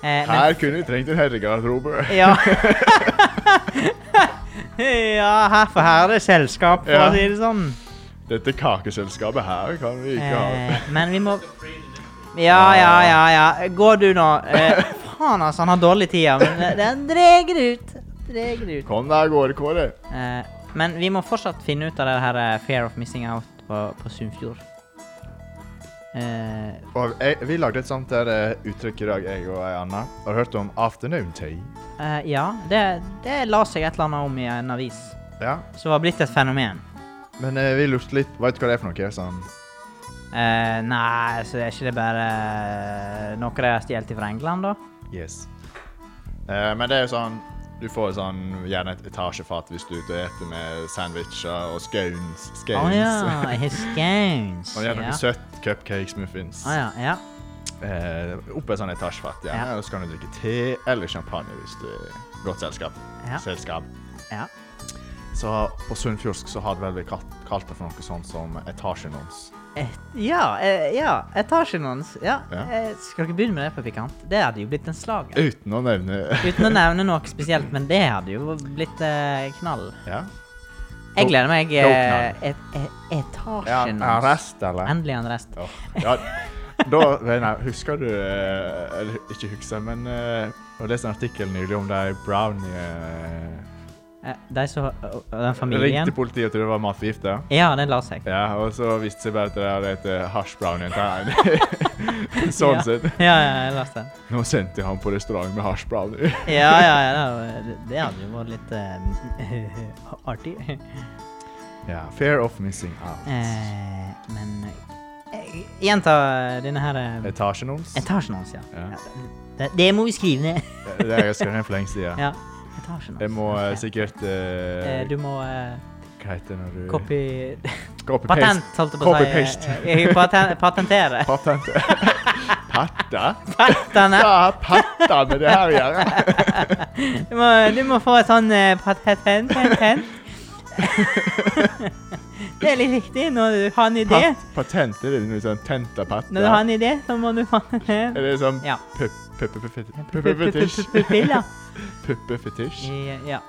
S2: Eh, men-
S1: Her kunne vi trengt en herregarderobe.
S2: *laughs* Ja. *laughs* ja, her for her er det selskap, for
S1: Ja.
S2: å si det sånn.
S1: Dette kakeselskapet her kan vi ikke ha.
S2: Eh, men vi må Ja, ja, ja. ja. Gå du nå. Eh, faen, altså. Han har dårlig tid, ja, men det- den dreger ut. Dreger ut.
S1: Kom deg av gårde, Kåre.
S2: Eh, men vi må fortsatt finne ut av det her eh, Fear of Missing Out på, på Sunnfjord. Eh,
S1: Og jeg, vi lagde et sånt der eh, uttrykk i dag, jeg og ei anna. Har du hørt om afternoon tea?
S2: eh, ja, det, det la seg et eller annet om i en avis
S1: Ja.
S2: som var blitt et fenomen.
S1: Men eh, vi lurte litt Vet du hva det er for noe? Sånn
S2: Eh, nei, så er ikke det bare eh, noe de har stjålet fra England, da?
S1: Yes. Eh, men det er jo sånn Du får sånn, gjerne et etasjefat hvis du er ute og spiser med sandwicher og scones.
S2: Å
S1: scones.
S2: ja, jeg har scones.
S1: *laughs* og gjerne noe
S2: ja.
S1: søtt. Cupcakes, muffins.
S2: Å ja, ja.
S1: Eh, oppe et sånt etasjefat. gjerne,
S2: Ja.
S1: Og så kan du drikke te eller champagne hvis du er i godt selskap.
S2: Ja.
S1: selskap.
S2: ja.
S1: Så på Sunnfjordsk så hadde vel vi kalt, kalt det for noe sånt som etasjenons.
S2: Et, ja, eh, ja, etasjen hans. Ja.
S1: Ja.
S2: eh, Skal dere begynne med det på pikant? Det hadde jo blitt en slag.
S1: Uten å nevne
S2: Uten å nevne noe spesielt, men det hadde jo blitt eh, knall.
S1: Ja.
S2: Jeg gleder meg.
S1: Go-
S2: Eh,
S1: go
S2: et, et,
S1: *laughs* Ja,
S2: etasjen
S1: en
S2: hans.
S1: rest, eller?
S2: Endelig en rest.
S1: Ja. ja. Da, Reinar, husker du eh, Eller ikke husker, men eh, Jeg leste en artikkel nylig om de brownie eh,
S2: Eh, De som og- og Den familien.
S1: Ringte politiet og trodde det var matforgifta.
S2: Ja, den la seg.
S1: Ja, og så viste det seg bare at de hadde et hasjbrownie. *laughs* sånn
S2: Ja.
S1: sett.
S2: Ja, ja, jeg la den.
S1: Nå sendte jeg ham på restaurant med hasjbrownie.
S2: Ja, ja, ja. det- Det hadde jo vært litt eh, *laughs* artig.
S1: ja, fear of missing out.
S2: Eh, men eh, Gjenta denne her eh,
S1: Etasjen hans.
S2: etasjen hans, ja.
S1: Ja.
S2: ja. Det, det må vi skrive ned. *laughs*
S1: Det har jeg skrevet ned for lenge siden.
S2: ja. Etasjen hans.
S1: Jeg må eh,
S2: Ja.
S1: sikkert eh,
S2: Eh, Du må eh,
S1: Hva heter det når du
S2: copy
S1: Copy-paste.
S2: *laughs* Patent, holdt jeg på å si.
S1: Copy-paste.
S2: Eh, eh, paten-
S1: *laughs*
S2: Patentere.
S1: Patent. Patta?
S2: Patene.
S1: Ja, patta med det her å
S2: *laughs*
S1: gjøre.
S2: Du må, du må få et sånn eh, patent.
S1: *laughs*
S2: patent. *laughs* Det er litt viktig når du har en idé.
S1: Pat patent, er det noe sånn tentapatta?
S2: Når du har en idé, så må du
S1: Er
S2: faen
S1: det sånn
S2: Ja.
S1: puppefetisj?
S2: Pupiller.
S1: Puppefetisj?
S2: I- Ja.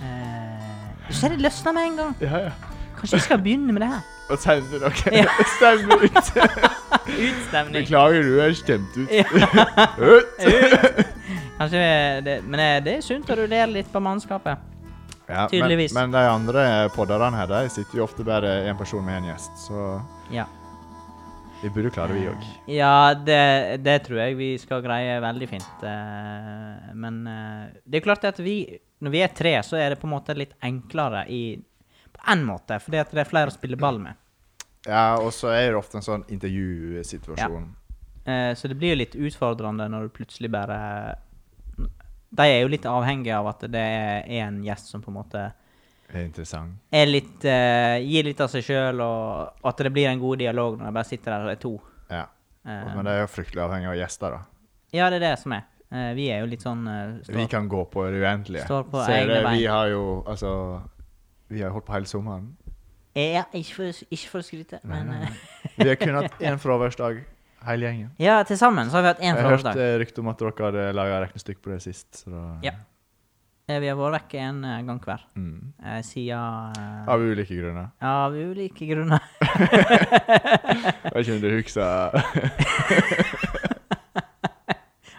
S2: Eh, Du ser det løsner med en gang.
S1: Ja, ja.
S2: Kanskje vi skal begynne med det her?
S1: Og sende
S2: Ja.
S1: *laughs* dere stemmer ut.
S2: *laughs* Utstemning.
S1: Beklager, du er stemt ut.
S2: Ja.
S1: *laughs* Ut!
S2: Kanskje det, Men eh, det er sunt å rullere litt på mannskapet.
S1: *laughs* Ja,
S2: Tydeligvis.
S1: Men, men de andre podderne her, de sitter jo ofte bare én person med én gjest, så
S2: Ja.
S1: vi burde klare vi òg.
S2: Ja, det, det tror jeg vi skal greie veldig fint. eh, Men eh, det er klart at vi Når vi er tre, så er det på en måte litt enklere i På én måte, fordi at det er flere å spille ball med.
S1: Ja, og så er det ofte en sånn intervjusituasjon.
S2: Eh, Så det blir jo litt utfordrende når du plutselig bare De er jo litt avhengige av at det er en gjest som på en måte
S1: Det er interessant.
S2: er litt, eh, gir litt av seg sjøl, og, og at det blir en god dialog når de bare sitter der og er to.
S1: Ja.
S2: Eh,
S1: Men de er jo fryktelig avhengig av gjester, da.
S2: ja, det er det som er. Eh, vi er jo litt sånn eh,
S1: Vi
S2: står-
S1: kan gå på det uendelige.
S2: Står på
S1: Ser
S2: egne
S1: det, Vi
S2: bein.
S1: har jo altså Vi har holdt på hele sommeren.
S2: Ja, ikke for, ikke for å skryte, men eh,
S1: Vi har kun hatt én fraværsdag, hele gjengen.
S2: Ja, til sammen så har vi hatt én
S1: Jeg hørte
S2: fraværsdag.
S1: rykte om at dere hadde laga regnestykke på det sist. Så da,
S2: Ja. Eh, Vi har vært vekk en eh, gang hver
S1: mm.
S2: eh, siden eh,
S1: Av ulike
S2: *laughs*
S1: grunner.
S2: Av ulike grunner. *laughs*
S1: Jeg vet ikke om du husker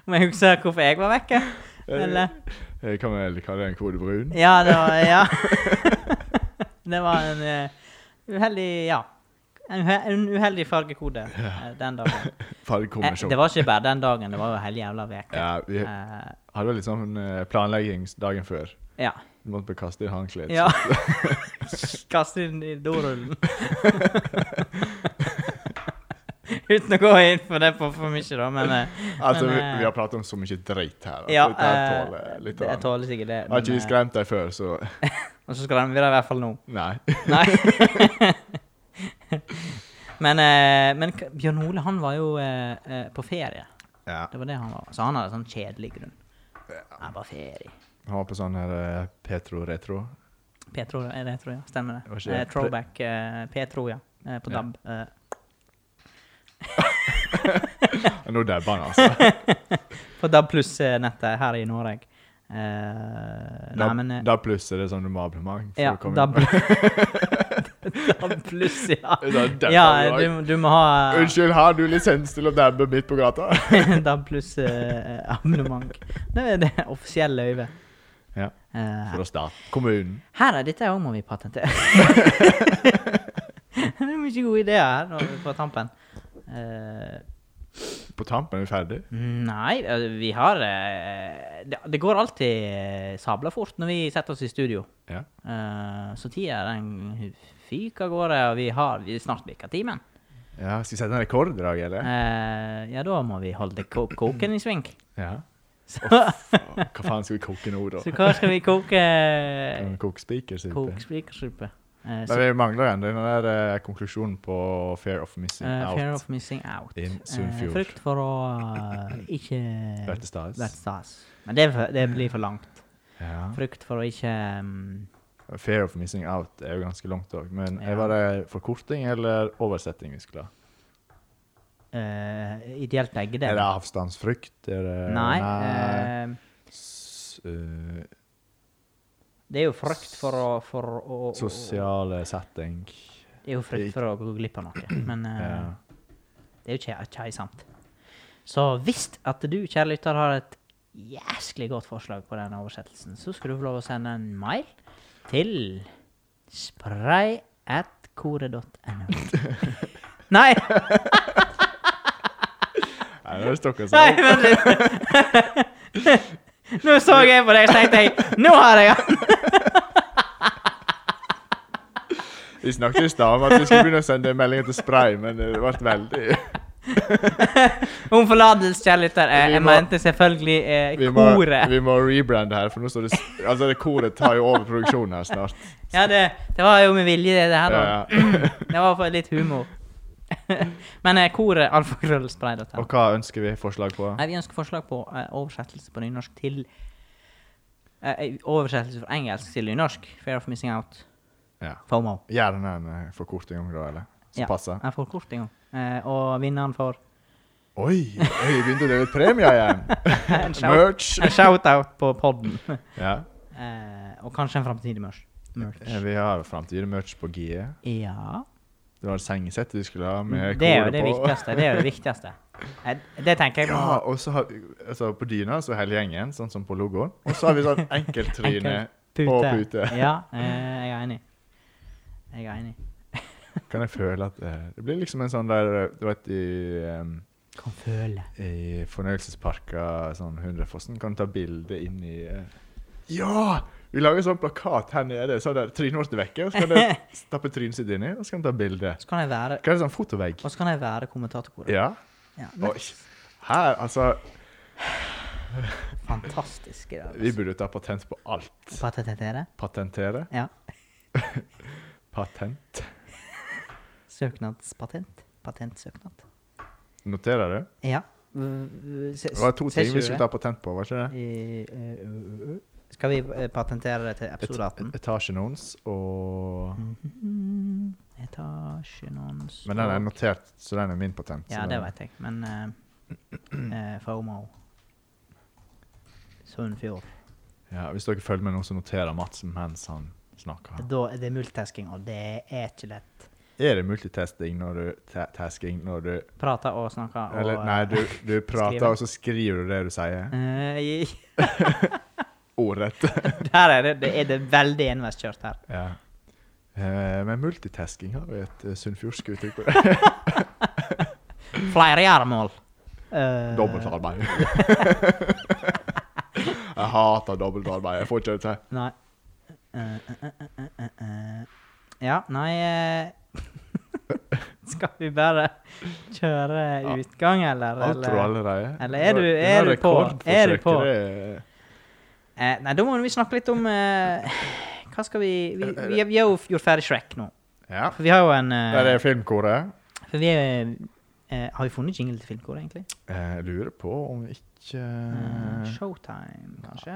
S2: Om jeg husker hvorfor jeg var vekke? Eller?
S1: Eh, Kan vi vel kalle det en kode brun?
S2: Ja, det var Ja. *laughs* det var en eh, uheldig Ja. En, uhe- en uheldig fargekode eh, den
S1: *laughs*
S2: dagen. Eh,
S1: Fargekombinasjon.
S2: det var ikke bare den dagen, det var jo hele jævla veka.
S1: ja, vi
S2: Eh,
S1: hadde litt sånn eh, planlegging dagen før.
S2: ja.
S1: Vi måtte bare kaste inn håndkleet.
S2: ja. Kaste den i dorullen. *laughs* Uten å gå inn på det på for mye, da, men eh,
S1: *laughs* Altså,
S2: men,
S1: vi,
S2: eh,
S1: vi har pratet om så mye dritt her. altså. at
S2: Ja.
S1: dette her
S2: eh,
S1: tåler litt
S2: jeg
S1: av den.
S2: tåler sikkert det.
S1: Har ikke vi
S2: men, eh,
S1: skremt deg før, så
S2: Og så skremmer vi det i hvert fall nå.
S1: Nei.
S2: Nei. *laughs* men, eh, men k- Bjørn Ole han var jo eh, eh, på ferie.
S1: Ja.
S2: Det var det han var. Så han hadde sånn kjedelig grunn. Ja, bare ferie.
S1: Han var på sånn her eh, Petro Retro.
S2: Petro, er det, tror jeg. Stemmer
S1: Var
S2: det.
S1: ikke det?
S2: Eh, throwback eh, Petro, ja. Eh, på
S1: Ja.
S2: DAB. Eh,
S1: Og Nå dabber han, altså.
S2: på DAB pluss-nettet her i Norge. Eh, nei,
S1: Dab,
S2: men eh,
S1: dab pluss er det sånn du må ha abonnement for
S2: Ja,
S1: å komme
S2: DAB.
S1: inn. *laughs*
S2: *laughs* DAB pluss, ja.
S1: Det er sånn,
S2: Ja,
S1: dabber du
S2: du, du må ha
S1: Unnskyld, har du lisens til å dabbe midt på gata?
S2: *laughs* DAB pluss eh, abonnement. Det er det offisielle løyvet.
S1: Ja.
S2: Eh,
S1: For å starte. Kommunen.
S2: Her er dette òg må vi
S1: *laughs*
S2: patentere. det er mye gode ideer her nå på tampen. Eh,
S1: På tampen er vi ferdig.
S2: nei, eh, vi har eh, det, det går alltid eh, sabla fort når vi setter oss i studio.
S1: Ja.
S2: Eh, så tida den fyker av gårde, og vi har vi er snart bikka timen.
S1: Ja, Skal vi sette en rekord i dag, eller?
S2: Eh, ja, da må vi holde ko koken i sving.
S1: Ja.
S2: Så,
S1: Hva faen skal vi koke nå, da?
S2: *laughs* så hva skal vi koke?
S1: Kan vi Koke spikersuppe?
S2: Koke spikersuppe. Eh, så-
S1: Men vi mangler jo ennå den der eh, konklusjonen på Fair of Missing
S2: Eh,
S1: Out.
S2: Fear of missing out.
S1: In
S2: Eh,
S1: Sunnfjord.
S2: frykt for å
S1: *laughs*
S2: eh, ikke
S1: Vært i stas.
S2: Vært stas. Men det, er for- det blir for langt.
S1: Ja.
S2: Frykt for å ikke mm,
S1: Fair of Missing Out er jo ganske langt òg. Men
S2: Ja.
S1: var det forkorting eller oversetting vi skulle ha?
S2: eh, Ideelt begge
S1: Er det
S2: deler.
S1: avstandsfrykt? Er det
S2: Nei. eh,
S1: S- eh,
S2: det er jo frykt for å, for å å-
S1: sosiale setting.
S2: Det er jo frykt for å gå glipp av noe. Men eh,
S1: Ja.
S2: det er jo ikke, ikke sant. Så hvis at du, kjære lytter, har et jæsklig godt forslag på den oversettelsen, så skal du få lov å sende en mail til spray.kore.no.
S1: *laughs*
S2: Nei!
S1: Nei, det stokker
S2: Nei,
S1: seg. opp.
S2: vent litt. *laughs* Nå så jeg på deg og tenkte jeg, nå har jeg han!
S1: Vi snakket i stad om at vi skulle begynne å sende meldinger til Spray, men det ble veldig
S2: Om forlatelse, kjære lytter. Jeg,
S1: Vi
S2: jeg
S1: må-
S2: mente selvfølgelig eh,
S1: *laughs* Vi må,
S2: koret.
S1: vi må rebrande her, for nå står det s- Altså, det koret tar jo over produksjonen her
S2: *laughs*
S1: snart.
S2: Ja, det, det var jo med vilje, det, det her. Da.
S1: Ja.
S2: *laughs* Det var for litt humor. *laughs* Men eh, koret alfakrøllspray.no.
S1: Og hva ønsker vi forslag på?
S2: Nei, vi ønsker forslag på eh, oversettelse på nynorsk til eh, Oversettelse fra engelsk til nynorsk. Fair of missing out.
S1: Ja.
S2: FOMO.
S1: Gjerne en eh, forkorting om det, eller? Som
S2: Ja.
S1: passer.
S2: Jeg får kort engang. Eh, og vinneren
S1: *laughs*
S2: får
S1: Oi, oi, begynte å dele ut premier igjen!
S2: en shout-
S1: Merch!
S2: en shout-out på podden. *laughs*
S1: Ja.
S2: Eh, og kanskje en framtidig merch.
S1: Eh,
S2: merch.
S1: Vi har framtidig-merch på GE.
S2: Ja.
S1: Det var sengesettet du skulle ha med
S2: Det er jo
S1: koret
S2: det
S1: på.
S2: viktigste. Det er jo det viktigste. Eh, Det tenker jeg.
S1: Ja, og så har vi altså, på dyna så er hele gjengen, sånn som på logoen. Og så har vi sånn enkelttryne
S2: *laughs*
S1: og pute.
S2: Ja, eh, jeg er enig. Jeg er enig.
S1: Kan jeg føle at eh, Det blir liksom en sånn der eh, Du vet i, em,
S2: Kan føle.
S1: i fornøyelsesparker, sånn Hundrefossen, kan du ta bilde inn i eh, Ja! Vi lager sånn plakat her nede, sånn der trynet vårt er vekke. Og så kan
S2: *laughs*
S1: du stappe trynet sitt inni, og så kan du ta bilde.
S2: Så kan jeg være,
S1: Hva er det sånn fotovegg?
S2: og så kan jeg være kommentatorkoret.
S1: Ja.
S2: Ja, men
S1: Oi. Her, altså
S2: fantastisk. Det,
S1: Vi
S2: altså.
S1: burde ta patent på alt.
S2: Patentere.
S1: Patentere.
S2: Ja.
S1: Patent.
S2: Søknadspatent. Patentsøknad.
S1: Noterer du?
S2: Ja. Mm, se-
S1: Det var to
S2: ser
S1: ting
S2: ikke
S1: vi
S2: du
S1: skulle ta
S2: det?
S1: patent på, var ikke det?
S2: I, eh, ø, ø, ø. Skal vi eh, patentere det til episode 18?
S1: Etasjen hans og
S2: Mm. Mhm. Etasjen hans
S1: Men den er notert, så den er min patent.
S2: Ja,
S1: så
S2: det
S1: den-
S2: vet jeg, men eh, eh, FOMO Sunnfjord.
S1: Ja, hvis dere følger med nå, så noterer Mats mens han snakker.
S2: Da er det multitasking, og det er ikke lett.
S1: Er det multitasking når du ta tasking når du
S2: Prate og snakke og
S1: Eller nei, du, du prater,
S2: *laughs* skriver.
S1: og så skriver du det du sier.
S2: Eh,
S1: Ordrett. *laughs*
S2: Der er det, det er det veldig enveiskjørt her.
S1: Ja. Eh, Men multitasking har vi et eh, sunnfjordsk uttrykk på. det.
S2: Flere gjøremål. Eh, *laughs*
S1: Dobbeltarbeid. Jeg hater dobbeltarbeid. Jeg får ikke det til.
S2: Nei. Eh, eh, eh, eh, eh, eh. Ja, nei eh, *laughs* Skal vi bare kjøre
S1: Ja.
S2: utgang, eller?
S1: Outro
S2: eller?
S1: allerede.
S2: eller er du-
S1: Det
S2: er
S1: var
S2: du på? Er du på?
S1: rekordforsøket, det-
S2: Eh, nei, da må vi snakke litt om eh, Hva skal vi Vi, vi, vi har jo gjort ferdig Shrek nå.
S1: Ja.
S2: For vi har jo en eh,
S1: Der er filmkoret.
S2: For vi er, eh, Har vi funnet jingle til filmkoret, egentlig?
S1: Jeg lurer på om ikke
S2: Eh, Showtime, kanskje?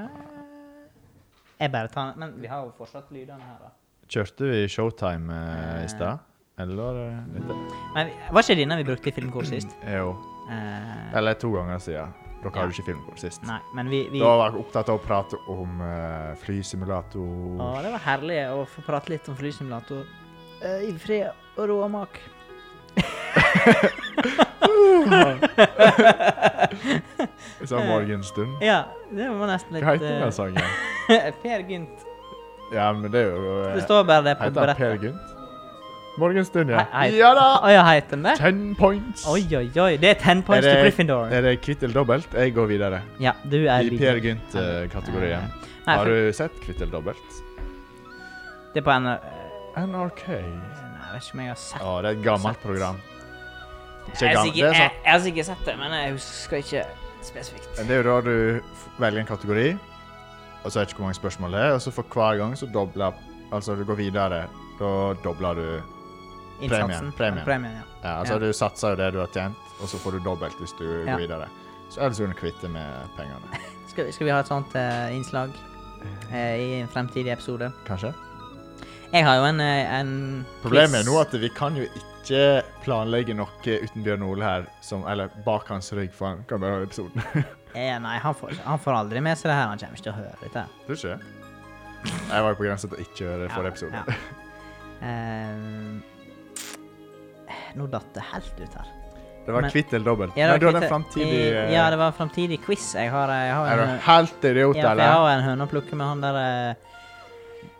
S2: Jeg bare tar den. Men vi har jo fortsatt lydene her, da.
S1: Kjørte vi Showtime eh, i stad? Eller eh, dette?
S2: Nei, vi- var ikke det denne vi brukte i filmkoret sist?
S1: Jo.
S2: Eh,
S1: Eller to ganger siden. Dere
S2: Ja.
S1: hadde jo ikke filmkor sist.
S2: nei, men vi, vi
S1: Da var jeg opptatt av å prate om eh, flysimulator
S2: Å, det var herlig å få prate litt om flysimulator eh, i fred og ro og
S1: *laughs*
S2: mak.
S1: Sånn morgenstund.
S2: Ja, det var nesten litt
S1: Hva heter
S2: eh, *laughs*
S1: den altså? sangen?
S2: Per Gynt.
S1: Ja, men det er jo eh,
S2: Det står bare det på
S1: Heter han Per
S2: brettet.
S1: Gynt? Morgenstund, ja.
S2: Hei, hei.
S1: Ja da!
S2: Å ja, heter den det?
S1: Ten points.
S2: Oi, oi, oi. Det er ten points
S1: Er
S2: til
S1: det-
S2: Gryffindor.
S1: Er det kvitt eller dobbelt? Jeg går videre.
S2: Ja, du er
S1: I Per Gynt-kategorien. Har
S2: for,
S1: du sett kvitt eller dobbelt?
S2: Det er på en eh,
S1: NRK.
S2: Nei, jeg vet ikke om jeg har sett
S1: Ja, det er et gammelt
S2: Sett.
S1: program. Ikke
S2: Jeg har
S1: gam-
S2: sikkert-
S1: det altså. er
S2: jeg-
S1: sant.
S2: jeg har sikkert sett det, men jeg husker ikke spesifikt.
S1: Men Det er jo da du f- velger en kategori, og så vet ikke hvor mange spørsmål det er, og så for hver gang så dobler Altså, du går videre. Da dobler du
S2: Innsatsen.
S1: premien.
S2: premien ja.
S1: Ja, altså
S2: Ja.
S1: du satser jo det du har tjent, og så får du dobbelt hvis du
S2: Ja.
S1: går videre. Så ellers er du kvitte med pengene.
S2: Skal, vi- skal vi ha et sånt eh, innslag eh, i en fremtidig episode?
S1: Kanskje?
S2: Jeg har jo en, eh, en
S1: Problemet er nå at vi kan jo ikke planlegge noe uten Bjørn Ole her, som, eller bak hans rygg, for han kan bare høre episoden. *laughs*
S2: eh, Nei, han får, han får aldri med seg det her. Han kommer ikke til å høre dette.
S1: Tror ikke det? Jeg var jo på grensa til å ikke høre
S2: Ja,
S1: forrige episode.
S2: ja. Eh, nå datt det helt ut her.
S1: *laughs* Det var
S2: Men-
S1: kvitt eller dobbelt.
S2: Ja, det
S1: Men du
S2: var
S1: hadde en
S2: kvitt-
S1: framtidig eh,
S2: i- Ja, det var en framtidig quiz. Jeg har, eh, jeg har
S1: Er
S2: en,
S1: du helt idiot,
S2: ja, for jeg
S1: eller?
S2: har en høne å plukke med han der eh,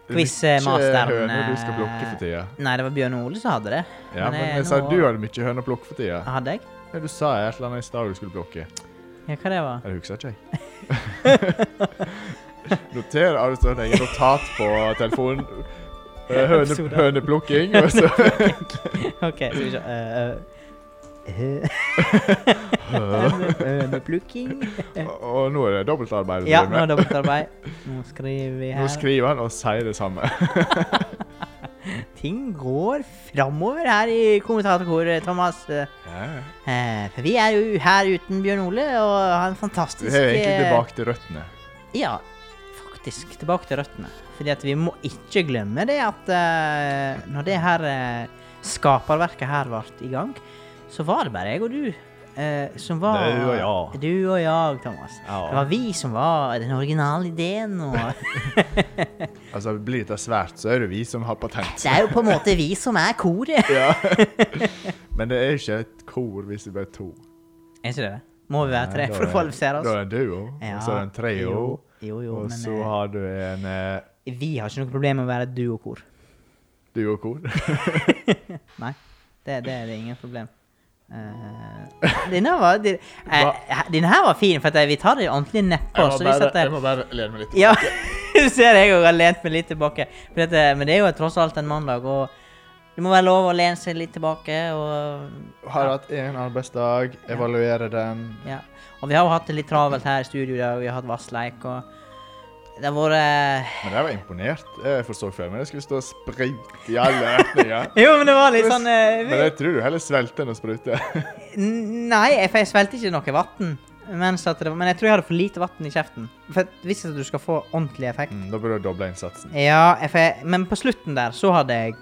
S1: Det er
S2: quizmasteren,
S1: Mye høner du skal
S2: eh,
S1: plukke for tida.
S2: Nei, det var Bjørn Ole som hadde det.
S1: Ja, men
S2: eh,
S1: jeg sa
S2: nå-
S1: du hadde mye høner å plukke for tida.
S2: Hadde jeg?
S1: Ja, du sa et eller annet i stad du skulle plukke.
S2: Ja, hva det var?
S1: Jeg husker ikke, jeg. *laughs* Noter har du sånn eget notat på telefonen. Eh, Høne,
S2: Episode.
S1: høneplukking. Og
S2: *laughs*
S1: så
S2: OK, skal vi se. eh, eh, *laughs* Høneplukking.
S1: Og og nå er det dobbeltarbeid.
S2: Ja,
S1: du driver
S2: nå er
S1: med.
S2: det dobbeltarbeid. Nå skriver vi
S1: nå
S2: her.
S1: skriver han og sier det
S2: *laughs*
S1: samme.
S2: Ting går framover her i kommentatorkoret, Thomas. Eh, eh, For vi er jo her uten Bjørn Ole, og har en
S1: Vi
S2: fantastisk
S1: er jo egentlig
S2: eh,
S1: tilbake til røttene.
S2: Ja, faktisk tilbake til røttene. Fordi at vi må ikke glemme det at eh, når det her eh, skaperverket her ble i gang, så var det bare jeg og du eh, som var
S1: Du og jeg.
S2: Du og jeg, Thomas.
S1: Ja.
S2: Det var vi som var den originale ideen. Og
S1: Altså, Blir dette svært, så er det vi som har patent. *laughs*
S2: det er jo på en måte vi som er koret. *laughs*
S1: Ja. Men det er jo ikke et kor hvis det bare er to.
S2: Er ikke det det? Må vi være tre
S1: Nei, da
S2: for
S1: er-
S2: å kvalifisere
S1: Da
S2: oss?
S1: er det en duo, og så er det en trio,
S2: Jo, jo, jo,
S1: og
S2: men
S1: så
S2: eh,
S1: har du en eh,
S2: vi har ikke noe problem med å være et duokor.
S1: duokor.
S2: Nei, det, det er det ingen problem.
S1: *laughs*
S2: Uh, denne, var, din, eh, denne her var fin, for at eh, vi tar det ordentlig nedpå.
S1: Jeg må
S2: Så vi
S1: bare-
S2: setter
S1: jeg må bare lene meg litt
S2: Ja, *laughs* du ser jeg òg har lent meg litt tilbake. For at, eh, men det er jo tross alt en mandag, og det må være lov å lene seg litt tilbake. Og,
S1: Har hatt én arbeidsdag, evaluere den.
S2: ja. og vi har jo hatt det litt travelt her i studio i dag, vi har hatt vassleik, og det har vært
S1: Men jeg var imponert. Jeg forstår ikke men jeg skulle stå og sprute i alle retninger.
S2: Jo, men *laughs* det var litt sånn eh,
S1: Men jeg tror du heller svelter enn å sprute. *laughs*
S2: N- Nei, jeg, for jeg svelte ikke noe vann. Men, så at det var- men jeg tror jeg hadde for lite vann i kjeften. For at hvis at du skal få ordentlig effekt
S1: Mm, da burde du doble innsatsen.
S2: Ja, jeg, for jeg, men på slutten der så hadde jeg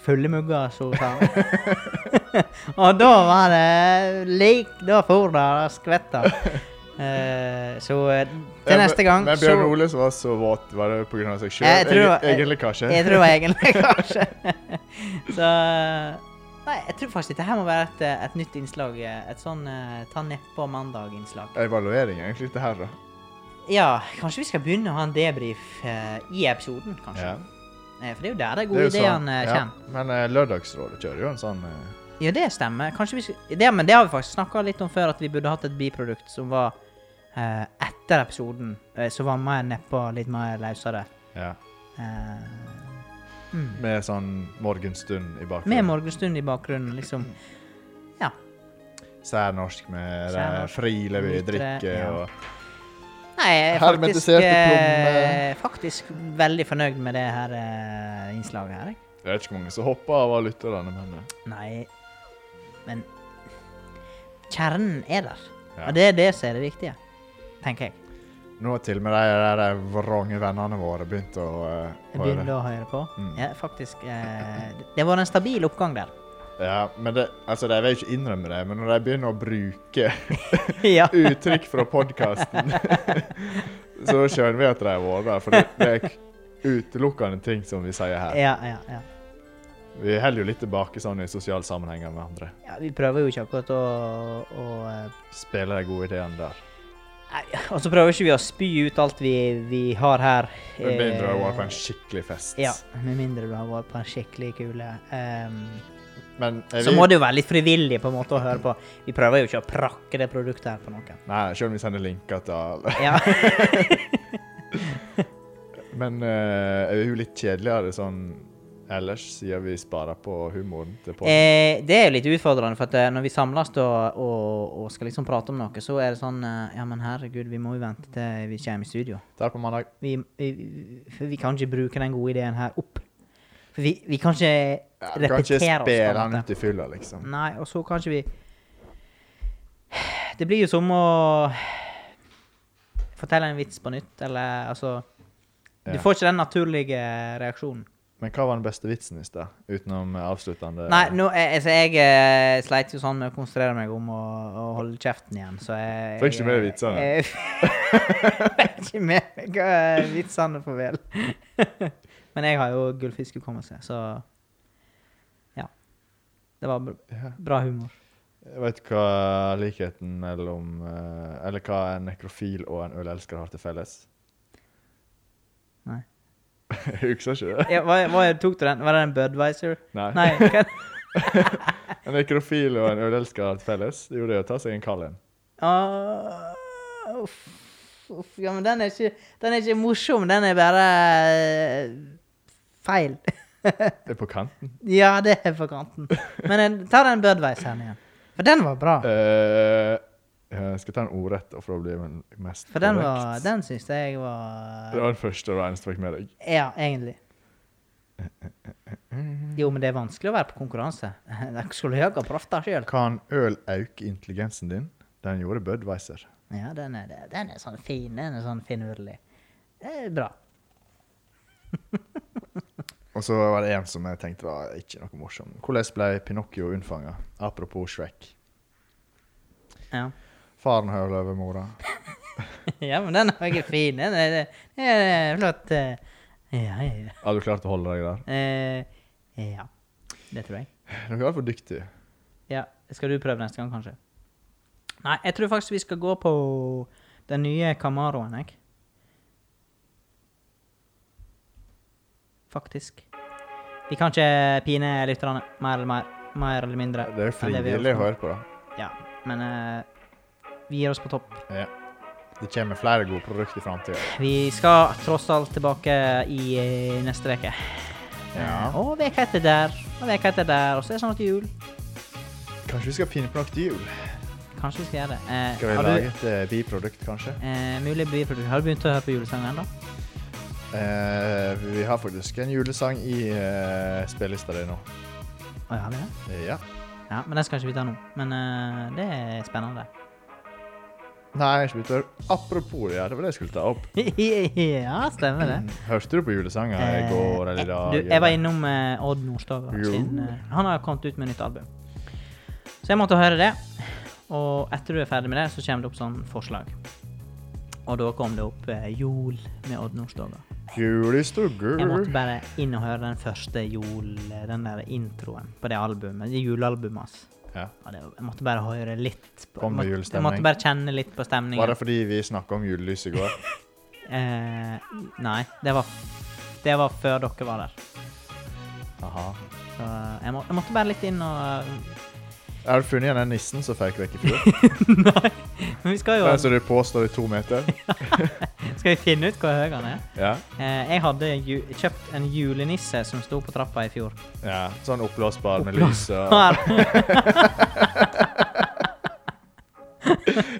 S2: fulle mugger, så sa han. *laughs* Og da var det lik Da for det skvetta. Eh, så eh, *laughs* til neste gang
S1: Men Bjørn
S2: så
S1: Ole som var så våt, var det pga. seg sjøl?
S2: Jeg tror-
S1: Egentlig kanskje.
S2: Jeg tror
S1: *laughs*
S2: egentlig kanskje *laughs* Så eh, Nei, jeg tror faktisk dette her må være et, eh, et nytt innslag. eh, Et sånn eh, ta nedpå mandag-innslag.
S1: *laughs* Evaluering, egentlig, det her, da.
S2: Ja, kanskje vi skal begynne å ha en debrief eh, i episoden, kanskje.
S1: Ja.
S2: Eh, for det er jo der de
S1: Det er
S2: gode
S1: jo sånn-
S2: ideene eh,
S1: ja.
S2: kommer.
S1: Men eh, Lørdagsrådet kjører jo en sånn eh,
S2: Ja, det stemmer. Kanskje vi skal, det, men det har vi faktisk snakka litt om før, at vi burde hatt et biprodukt som var eh, etter episoden, eh, som var mer nedpå, litt mer løsere.
S1: ja,
S2: Eh,
S1: Med sånn morgenstund i
S2: med
S1: bakgrunnen.
S2: morgenstund i bakgrunnen, liksom. Ja.
S1: Særnorsk med eh,
S2: Særnorsk.
S1: frilevig
S2: Litre,
S1: drikke
S2: ja.
S1: og
S2: Nei, jeg er faktisk,
S1: Hermetiserte
S2: eh, faktisk veldig fornøyd med det her eh, innslaget her, jeg.
S1: Jeg vet ikke hvor mange som hopper av av lytterne, men eh,
S2: Nei, men kjernen er der.
S1: Ja.
S2: Og det er det som er det viktige, tenker jeg.
S1: nå har til og med de der vrange vennene våre begynt å eh, høre.
S2: Jeg begynner å høre på.
S1: Mm.
S2: Ja, faktisk. Eh, det har vært en stabil oppgang
S1: *laughs*
S2: der.
S1: Ja, men det, altså, De vil ikke innrømme det, men når de begynner å bruke *laughs*
S2: ja.
S1: uttrykk fra podkasten, *laughs* så skjønner vi at de har vært der. For det, det er k- utelukkende ting som vi sier her.
S2: Ja, ja, ja.
S1: Vi holder jo litt tilbake sånn i sosiale sammenhenger med andre.
S2: ja. Vi prøver jo ikke akkurat å, å eh,
S1: Spiller de gode ideene der.
S2: Nei, og så prøver ikke vi å spy ut alt vi, vi har her.
S1: Med mindre de har vært på
S2: Eh,
S1: en skikkelig fest.
S2: Ja, med mindre du har vært på en skikkelig kule. Ehm,
S1: Men er
S2: så
S1: vi,
S2: må det jo være litt frivillig på en måte å høre på. Vi prøver jo ikke å prakke det produktet her på noen.
S1: Nei, selv om vi sender linker til alle. *laughs*
S2: Ja.
S1: Men eh, er vi jo litt kjedeligere sånn ellers, siden vi sparer på humoren til podden.
S2: Eh, det er jo litt utfordrende, for at eh, når vi samles da, og, og skal liksom prate om noe, så er det sånn eh, Ja, men herregud, vi må jo vente til vi kommer i studio.
S1: Der på mandag.
S2: Vi, vi, for vi kan ikke bruke den gode ideen her opp. For vi, vi kan ikke
S1: Ja, du kan ikke
S2: repetere oss. på en
S1: spille han
S2: måte. Mm.
S1: ut i fylla, liksom.
S2: Nei, og så kan ikke vi Det blir jo som å fortelle en vits på nytt, eller altså Du
S1: Ja.
S2: får ikke den naturlige reaksjonen.
S1: Men hva var den beste vitsen i sted? Utenom eh, avsluttende
S2: Nei, nå, jeg, altså, jeg eh, sleit jo sånn med å konsentrere meg om å, å holde kjeften igjen, så jeg
S1: Fikk ikke med deg vitsene.
S2: jeg- *laughs* Fikk ikke med meg eh, vitsene, for vel. *laughs* Men jeg har jo gullfiskhukommelse, så Ja. Det var br
S1: Ja.
S2: bra humor.
S1: Jeg vet hva likheten mellom eh, Eller hva en nekrofil og en ølelsker har til felles?
S2: Nei.
S1: Jeg *laughs* husker ikke det.
S2: Ja, hva, hva tok du den? Var det en Budwiser?
S1: Nei.
S2: Nei.
S1: *laughs*
S2: hva-
S1: En nekrofil og en ølelsker har til felles. Det er jo det å ta seg en kald en.
S2: Ah, Uff. uff, Ja, men den er, ikke, den er ikke morsom. Den er bare eh, feil.
S1: Det er på kanten.
S2: Ja, det er på kanten. Men jeg- ta den Budweiseren igjen. For den var bra.
S1: Eh, jeg skal ta en ordrett, og for å bli den mest
S2: For den, var,
S1: korrekt.
S2: den syns jeg
S1: Det
S2: var
S1: var den første og eneste jeg fikk med deg.
S2: Ja, egentlig. Jo, men det er vanskelig å være på konkurranse. *laughs* Jeg skulle jeg ha prøvd det sjøl.
S1: Kan øl øke intelligensen din? Den gjorde Budwiser.
S2: Ja, den er, det. den er sånn fin. Den er sånn finurlig. Det er bra.
S1: Og så var det en som jeg tenkte var ikke noe morsom. Hvordan ble Pinocchio unnfanga? Apropos Shrek.
S2: Ja. *laughs*
S1: Faren høvler over mora.
S2: ja, men den er jo fin. Den er, den er flott. eh. Ja, ja, ja.
S1: Har du klart å holde deg der?
S2: Eh, ja. Det tror jeg.
S1: Dere er altfor dyktige.
S2: Ja, Skal du prøve neste gang, kanskje? Nei, jeg tror faktisk vi skal gå på den nye Camaroen, jeg. Faktisk. Vi kan ikke pine lytterne mer eller, mer, mer eller mindre.
S1: Det er jo
S2: enn vi har
S1: frivillig å
S2: gjort nå.
S1: høre på, da.
S2: Ja, men eh, vi gir oss på topp.
S1: Det kommer flere gode produkter i framtida.
S2: Vi skal tross alt tilbake i eh, neste uke.
S1: Ja.
S2: Og veka etter der, og veka etter der, og så er det snart jul.
S1: Kanskje vi skal finne på noe til jul?
S2: Kanskje vi skal gjøre det. Eh,
S1: Skal vi
S2: har du-
S1: lage et eh, biprodukt, kanskje?
S2: Eh, mulig biprodukt. Har du begynt å høre på julesanger ennå?
S1: Eh, vi har faktisk en julesang i uh, spillelista di nå.
S2: Å, ja, har vi det?
S1: Eh, ja.
S2: Ja, men den skal ikke vi ta nå. Men eh, det er spennende. *laughs*
S1: Nei, ikke bytter. Apropos det, ja, det var det jeg skulle ta opp.
S2: ja, stemmer det.
S1: Hørte du på julesanger i
S2: Eh,
S1: går eller i dag?
S2: Du, jeg var innom eh, Odd Nordstoga.
S1: Jo.
S2: Sin, eh, han har kommet ut med nytt album. Så jeg måtte høre det. Og etter du er ferdig med det, så kommer det opp sånn forslag. Og da kom det opp eh, Jol med Odd Nordstoga.
S1: Julestugger.
S2: Jeg måtte bare inn og høre den første jol... Den der introen på det albumet. Det julealbumet hans.
S1: Ja.
S2: Ja, det, jeg måtte bare høre litt på,
S1: Kom det
S2: måtte- Jeg
S1: julestemning?
S2: måtte bare kjenne litt på
S1: Var det
S2: stemningen.
S1: fordi vi snakka om julelys i
S2: *laughs*
S1: går?
S2: Eh, nei, det var, det var før dere var der.
S1: Aha.
S2: Så eh, jeg, må, jeg måtte bare litt inn og
S1: Har du funnet igjen den nissen som føk vekk i
S2: *laughs*
S1: fjor?
S2: Nei, men eh, *laughs* vi skal
S1: Den
S2: jo
S1: som du påstår er to
S2: *laughs*
S1: meter?
S2: Skal vi finne ut hvor høy han er?
S1: Ja.
S2: Eh, jeg hadde ju, kjøpt en julenisse som sto på trappa i fjor.
S1: ja. Sånn oppblåsbar med lys
S2: *laughs*
S1: og
S2: Her.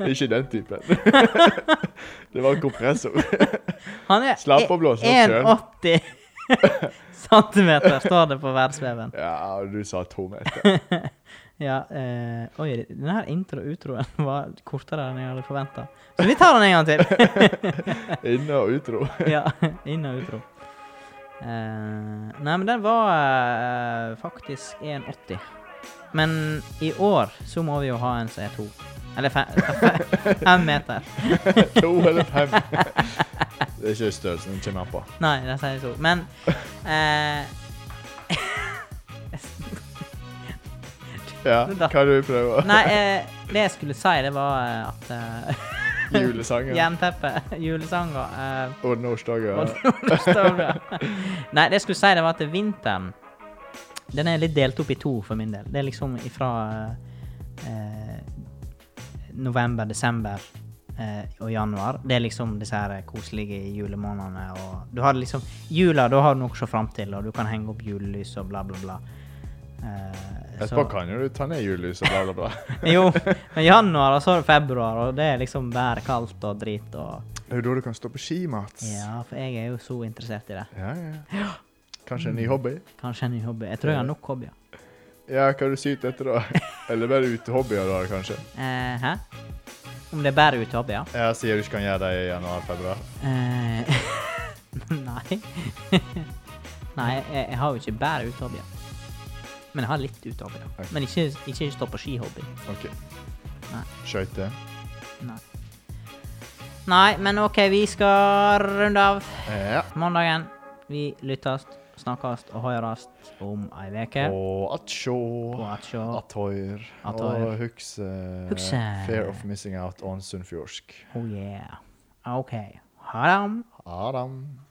S1: Ikke den typen. *laughs* det var kompressor.
S2: Han er e-
S1: Slapp å blåse opp sjøl.
S2: 1,80
S1: *laughs*
S2: centimeter, står det på verdensveven.
S1: Ja, du sa to meter.
S2: *laughs* Ja, eh, oi, den her intro-utroen *laughs* var kortere enn jeg hadde forventa. Så vi tar den en gang til.
S1: Inne og utro.
S2: *laughs* ja, inn og utro. Eh, nei, men den var eh, faktisk 1,80. Men i år så må vi jo ha en som er to. Eller fe- fe- fem meter.
S1: To eller fem. Det er ikke størrelsen den kommer an på.
S2: Nei, det sier jeg to. Men eh,
S1: Ja,
S2: Da-
S1: hva du prøver?
S2: Nei, eh, det jeg skulle si, det var eh, at eh, *laughs*
S1: Julesanger.
S2: Jernteppe, julesanger eh,
S1: Og Nordstoga.
S2: Og nå står
S1: *laughs*
S2: det. Nei, det jeg skulle si, det var at vinteren Den er litt delt opp i to for min del. Det er liksom ifra eh, eh, november, desember eh, og januar. Det er liksom disse her koselige julemånedene. Og du har liksom jula, da har du noe å se fram til, og du kan henge opp julelys og bla, bla, bla. Eh,
S1: Etterpå
S2: *laughs*
S1: kan jo du ta ned julelyset, bla, bla, bla.
S2: jo, men januar, og så er det februar, og det er liksom været kaldt og drit og
S1: Det er jo da du kan stå på ski, Mats.
S2: Ja, for jeg er jo så interessert i det.
S1: Ja, ja. Kanskje en ny hobby?
S2: Kanskje en ny hobby. Jeg tror jeg har nok hobbyer.
S1: Ja, hva er du sykt etter, da? Eller bare utehobbyer, da, kanskje?
S2: Eh, hæ? Om det er bedre ute hobbyer?
S1: Ja, sier du ikke kan gjøre det i januar-februar?
S2: Eh, *laughs* nei. *laughs* nei, jeg, jeg har jo ikke bare utehobbyer. Men jeg har litt utehobbyer.
S1: Ok.
S2: Men ikke, ikke stå på skihobby.
S1: OK.
S2: Nei.
S1: Skøyter?
S2: Nei. nei, men OK, vi skal runde av
S1: Ja.
S2: mandagen. Vi lyttes, snakkes og høres om ei uke.
S1: Og atsjå.
S2: Og atsjå.
S1: Atøyr.
S2: At
S1: Og
S2: høyr.
S1: huks eh,
S2: Hukse.
S1: Fear of missing out on sunnfjordsk.
S2: Oh yeah. OK. Oh, Ha det.
S1: Adam.